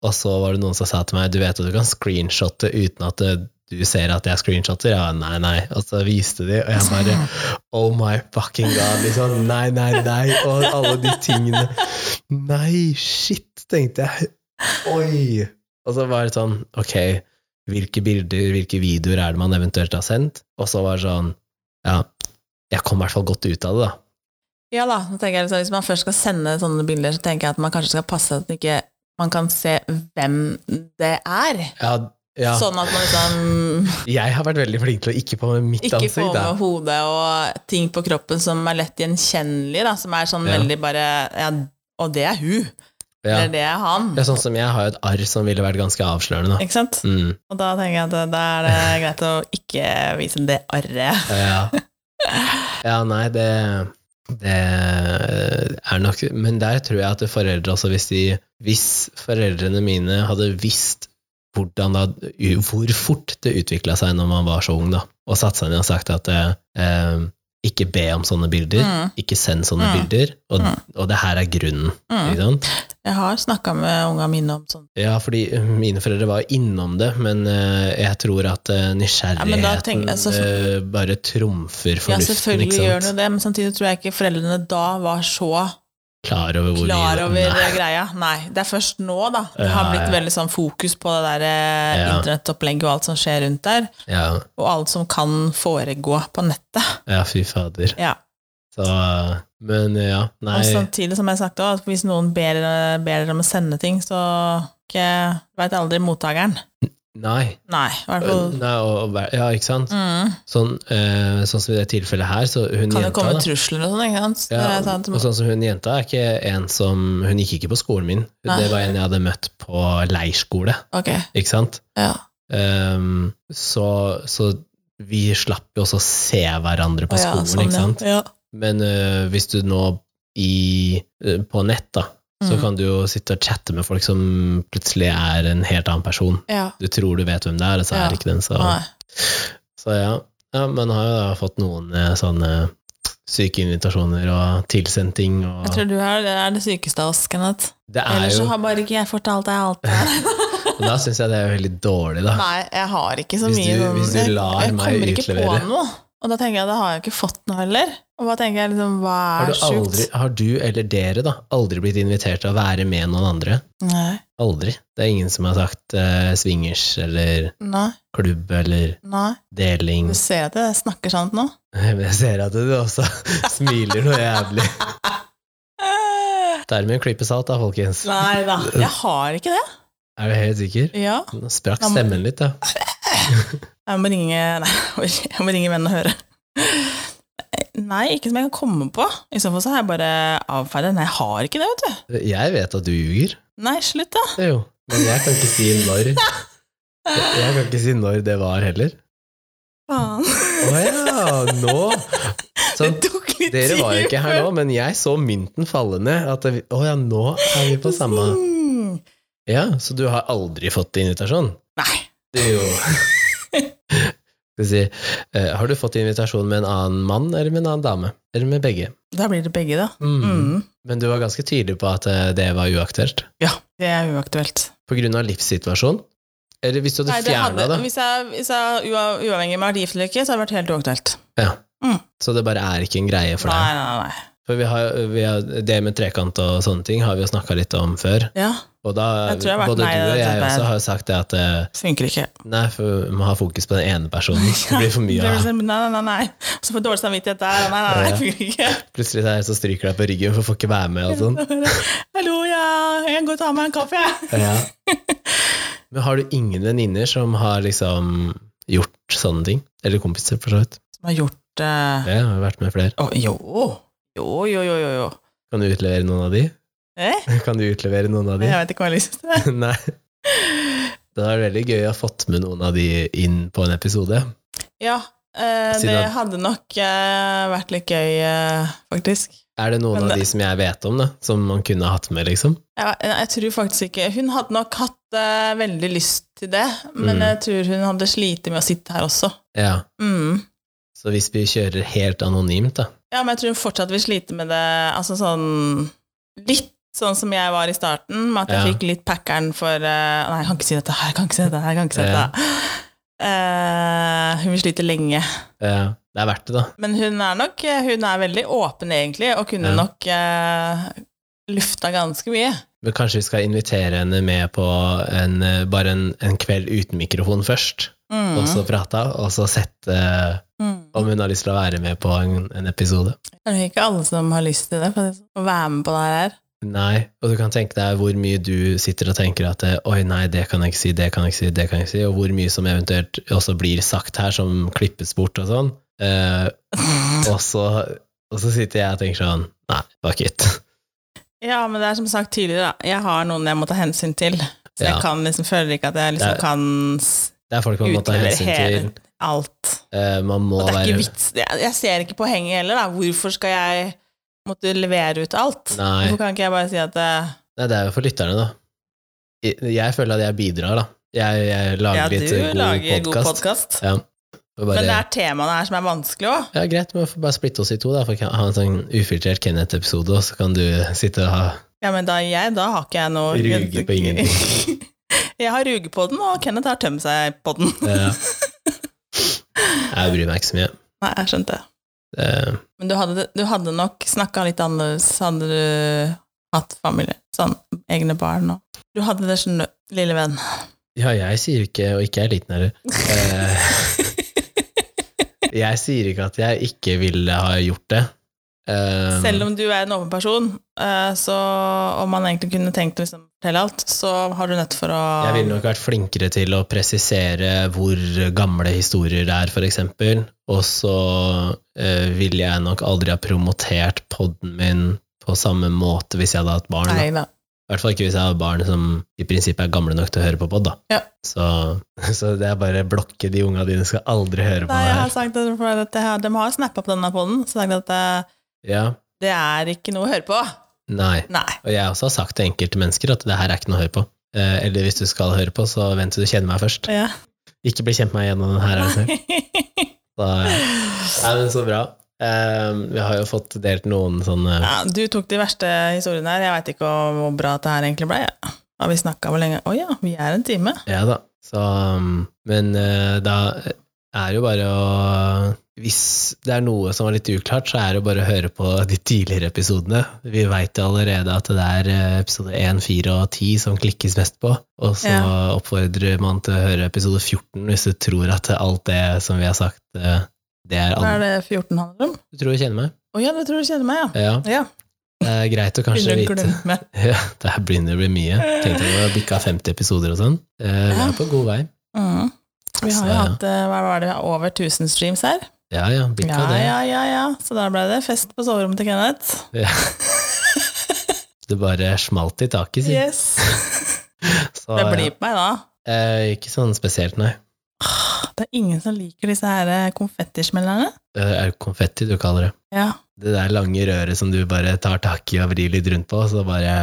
Og så var det noen som sa til meg du vet at du kan screenshotte uten at øh, du ser at jeg screenshotter. Ja, nei, nei. Og så viste de, og jeg bare Oh my fucking god, liksom. Nei, nei, nei. Og alle de tingene. Nei, shit, tenkte jeg. Oi. Og så var det sånn, ok, hvilke bilder, hvilke videoer er det man eventuelt har sendt? Og så var det sånn, ja, jeg kom i hvert fall godt ut av det, da. Ja da, nå tenker jeg liksom, Hvis man først skal sende sånne bilder, så tenker jeg at man kanskje skal passe at ikke, man kan se hvem det er. Ja, ja. Sånn at man liksom Jeg har vært veldig flink til å ikke få med mitt ikke få ansikt, da. med hodet og ting på kroppen som er lett gjenkjennelig, da, som er sånn Ja. veldig bare ja, Og det er hun! Ja. Eller det er han! Det er sånn som jeg har jo et arr som ville vært ganske avslørende, da. Ikke sant? Mm, Og da tenker jeg at da er det greit å ikke vise det arret. ja. ja, nei, det, det er nok Men der tror jeg at foreldre også, hvis, de, hvis foreldrene mine hadde visst hvordan da, hvor fort det utvikla seg når man var så ung, da, og satt seg ned og sagt at eh, ikke be om sånne bilder, Mm. ikke send sånne Mm. bilder, og, Mm. og det her er grunnen. Mm. Ikke sant? Jeg har snakka med unga mine om sånt. Ja, fordi eh, mine foreldre var innom det, men eh, jeg tror at eh, Ja, men nysgjerrigheten da tenker jeg- altså- eh, bare trumfer Ja, fornuften, selvfølgelig ikke gjør den sant? jo det, men samtidig tror jeg ikke foreldrene da var så Klar over hvor klar mye- over Nei. greia. Nei, det er først nå, da. Det har Ja, blitt ja. veldig sånn fokus på det der eh, Ja. internettopplegget og alt som skjer rundt der, Ja, og alt som kan foregå på nettet. ja, fy fader. Ja. Så, men eh, ja, nei. Og sånn. samtidig, som jeg har sagt også, at hvis noen ber, ber dere om å sende ting, så ikke veit aldri mottakeren. Nei. Nei, i hvert fall nei og, og, ja, ikke sant? mm, Sånn, eh, sånn som i det tilfellet her, så hun Kan jenta det komme da, trusler og sånn, ikke sant? Så ja, det er sant? og sånn som hun jenta er ikke en som Hun gikk ikke på skolen min. Nei. Det var en jeg hadde møtt på leirskole, Ok, ikke sant? ja. Ehm, så, så vi slapp jo også å se hverandre på Å ja, skolen, sånn, ikke sant? Ja. Men øh, hvis du nå i, øh, på nett, da, så Mm. kan du jo sitte og chatte med folk som plutselig er en helt annen person. Ja. Du tror du vet hvem det er, og så Ja. er det ikke den. Så, Nei. så ja. ja, man har jo da fått noen eh, sånne syke invitasjoner og tilsendt ting, og Jeg tror du er det, er det sykeste av oss, Kenneth. det er Ellers jo så har bare ikke jeg fortalt deg alt. og Da syns jeg det er veldig dårlig, da. Nei, jeg har ikke så Hvis mye du- sånn- hvis du jeg- lar meg Jeg kommer ikke utlevere. på noe. Og da tenker jeg, da har jeg ikke fått noe heller. Og da tenker jeg liksom, hva Har er du, aldri, sjukt? har du, eller dere, da, aldri blitt invitert til å være med noen andre? Nei. Aldri. Det er ingen som har sagt eh, swingers eller Nei. klubb eller Nei. deling. Du ser at jeg snakker sant nå? Men jeg ser at du også smiler noe jævlig. Eh, Dermed klippes alt da, folkens. Nei da. Jeg har ikke det. Er du helt sikker? Ja. Nå sprakk Da må- stemmen litt, da. Jeg må ringe Nei, jeg må ringe vennen og høre. Nei, ikke som jeg kan komme på. I så fall så har jeg bare avfeid det. Nei, jeg har ikke det, vet du. Jeg vet at du ljuger. Nei, slutt, da. Det er jo. Men jeg kan ikke si når. Jeg kan ikke si når det var heller. Faen. Å ja, nå! Sånn, det tok litt dere var jo ikke her tid nå, men jeg så mynten falle ned. At det, å ja, nå er vi før- på samme Mm. Ja, så du har aldri fått invitasjon? Nei. Det er jo Skal vi si eh, Har du fått invitasjon med en annen mann eller med en annen dame? Eller med begge? Da blir det begge, da. Mm. Mm. Men du var ganske tydelig på at eh, det var uaktuelt. Ja, det er uaktuelt. På grunn av livssituasjon? Eller hvis du hadde Nei, det fjerna hadde- det? Hvis jeg, hvis jeg ua- uavhengig om jeg har vært gift eller ikke, så hadde det vært helt uaktuelt. Ja. Mm. Så det bare er ikke en greie for Nei, deg? nei, nei. For vi har, vi har, det med trekant og sånne ting har vi jo snakka litt om før. Ja, Og da, Jeg tror jeg har vært både nei, du og det er jeg type- også har jo sagt det at eh, funker ikke. Nei, for vi må ha fokus på den ene personen. Det blir for mye Det blir av sånn, Nei, nei, nei. nei. Så får jeg dårlig samvittighet der. Nei, nei, nei, Ja. det funker ikke. Plutselig der, så stryker deg på ryggen for får ikke være med og sånn. Hallo, ja, jeg kan gå og ta meg en kaffe, jeg. Ja. Men har du ingen venninner som har liksom gjort sånne ting? Eller kompiser, for så vidt. Som har gjort eh, Det har jo vært med flere. å, Jo, jo, jo, jo, jo. jo. Kan du utlevere noen av de? Eh? Kan du utlevere noen av de? Jeg vet ikke hva jeg har lyst til. Nei. Det hadde vært veldig gøy å ha fått med noen av de inn på en episode. Ja, eh, Siden det at- hadde nok eh, vært litt gøy, eh, faktisk. Er det noen Men av de som jeg vet om, da? Som man kunne hatt med, liksom? Jeg, jeg tror faktisk ikke Hun hadde nok hatt eh, veldig lyst til det, men Mm. jeg tror hun hadde slitt med å sitte her også. Ja. Mm. Så hvis vi kjører helt anonymt, da. Ja, men jeg tror hun fortsatt vil slite med det Altså sånn Litt sånn som jeg var i starten, med at jeg Ja. fikk litt packeren for eh, Nei, jeg kan ikke si dette her, jeg kan ikke si dette her, jeg kan ikke si Ja. dette. Eh, hun vil slite lenge. Ja. Det er verdt det, da. Men hun er nok Hun er veldig åpen, egentlig, og kunne Ja. nok eh, lufta ganske mye. Men kanskje vi skal invitere henne med på en, eh, bare en, en kveld uten mikrofon først, Mm. og så prate, og så sette eh, Mm. om hun har lyst til å være med på en, en episode. Det er jo ikke alle som har lyst til det, for å si det sånn, å være med på det her. Nei, og du kan tenke deg hvor mye du sitter og tenker at eh, oi, nei, det kan jeg ikke si, det kan jeg ikke si, det kan jeg ikke si, og hvor mye som eventuelt også blir sagt her, som klippes bort og sånn. Eh, og, så, og så sitter jeg og tenker sånn, nei, fuck it. Ja, men det er som sagt tidligere, da. Jeg har noen jeg må ta hensyn til. Så Ja. jeg kan liksom føler ikke at jeg liksom Det er- kan s- Det er folk man må ta Utlevere hensyn til. hele- alt. Eh, man må Og det er være ikke vits. Jeg, jeg ser ikke poenget heller, da. Hvorfor skal jeg måtte levere ut alt? Nei. Hvorfor kan ikke jeg bare si at eh, Nei, det er jo for lytterne, da. Jeg- Jeg føler at jeg bidrar, da. Jeg, jeg lager ja, litt du lager god god podkast. podkast? Ja. Og Men det Bare, er temaene her som er vanskelig òg. ja, greit, men vi får bare splitte oss i to, da. For jeg kan ha en sånn ufiltrert Kenneth-episode, og så kan du sitte og ha Ja, men da, jeg, da har ikke jeg noe Ruge på ingenting. jeg har ruge på den, og Kenneth har tømt seg på den. eh, Jeg bryr meg ikke så mye. Nei, jeg skjønte. Eh, Men du hadde, du hadde nok snakka litt annerledes, hadde du hatt familie, sånn egne barn og Du hadde det, skjønner du, lille venn. Ja, jeg sier ikke, og ikke jeg er liten heller Eh, Jeg sier ikke at jeg ikke ville ha gjort det. Eh, Selv om du er en åpen person, eh, så om man egentlig kunne tenkt å liksom fortelle alt, så har du nødt for å Jeg ville nok vært flinkere til å presisere hvor gamle historier det er, for eksempel. Og så eh, ville jeg nok aldri ha promotert podden min på samme måte hvis jeg hadde hatt barn. Da. Nei da. I hvert fall ikke hvis jeg hadde barn som i prinsippet er gamle nok til å høre på pod. Da. Ja. Så, så det er bare blokke de unga dine skal aldri høre på Nei, altså. det jeg har her. sagt at for at jeg har- De har snappa på denne poden, så sagt at eh, Ja, det er ikke noe å høre på. nei. Nei. Og jeg har også sagt til enkelte mennesker at det her er ikke noe å høre på. Eh, eller hvis du skal høre på, så vent til du kjenner meg først. Ja. Ikke bli kjent med meg gjennom den her. altså. er det snill. Da- Nei, men så bra. Eh, vi har jo fått delt noen sånne ja, du tok de verste historiene her. Jeg veit ikke hvor bra det her egentlig ble. Ja. Har vi snakka hvor lenge? Å ja, vi er en time. Ja da. Så, um, men eh, da er jo bare å Hvis det er noe som var litt uklart, så er det bare å høre på de tidligere episodene. Vi veit jo allerede at det er eh, episode 1, 4 og 10 som klikkes mest på. Og så Ja. oppfordrer man til å høre episode 14 hvis du tror at alt det som vi har sagt, eh, det er Hva er alt. det 14 handler om? Du tror du kjenner meg? Å ja, det tror du kjenner meg, ja. Ja. Ja, Det er greit å kanskje Begynner å vite glemme. Ja, det her begynner å bli mye. Tenkte jeg å bikka 50 episoder og sånn. Eh, Vi er på god vei. Mm. Vi Så, har jo ja. hatt eh, hva var det, over 1000 streams her. Ja ja, bikka Ja, det. ja, ja, ja. Så da ble det fest på soverommet til Kenneth. Det bare smalt i taket, si. Yes. Så, Det ja. blir på meg, da. Eh, ikke sånn spesielt, nei. Det er ingen som liker disse her eh, konfettismellerne. Eh, er det konfetti du kaller det? Ja. Det der lange røret som du bare tar tak i og vrir litt rundt på, så bare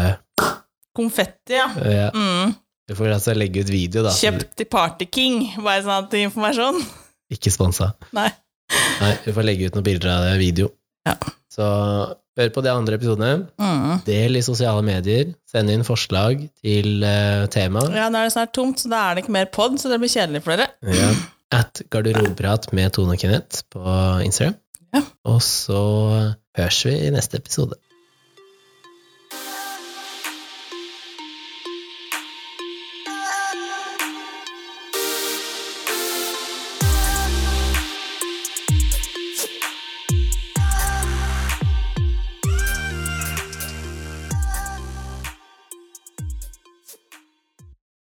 Konfetti, ja. eh, ja. Mm. Du får altså legge ut video, da. så Kjøpt i Party King, bare sånn at informasjon. du- Ikke sponsa. Nei. Nei, du får legge ut noen bilder av det, video. Ja. Så hør på de andre episodene. Mm. Del i sosiale medier. Send inn forslag til eh, tema. Ja, nå er det snart tomt, så da er det ikke mer pod, så det blir kjedelig for dere. Ja. At garderobeprat med Tone og Kenneth på Instagram. Ja. Og så høres vi i neste episode.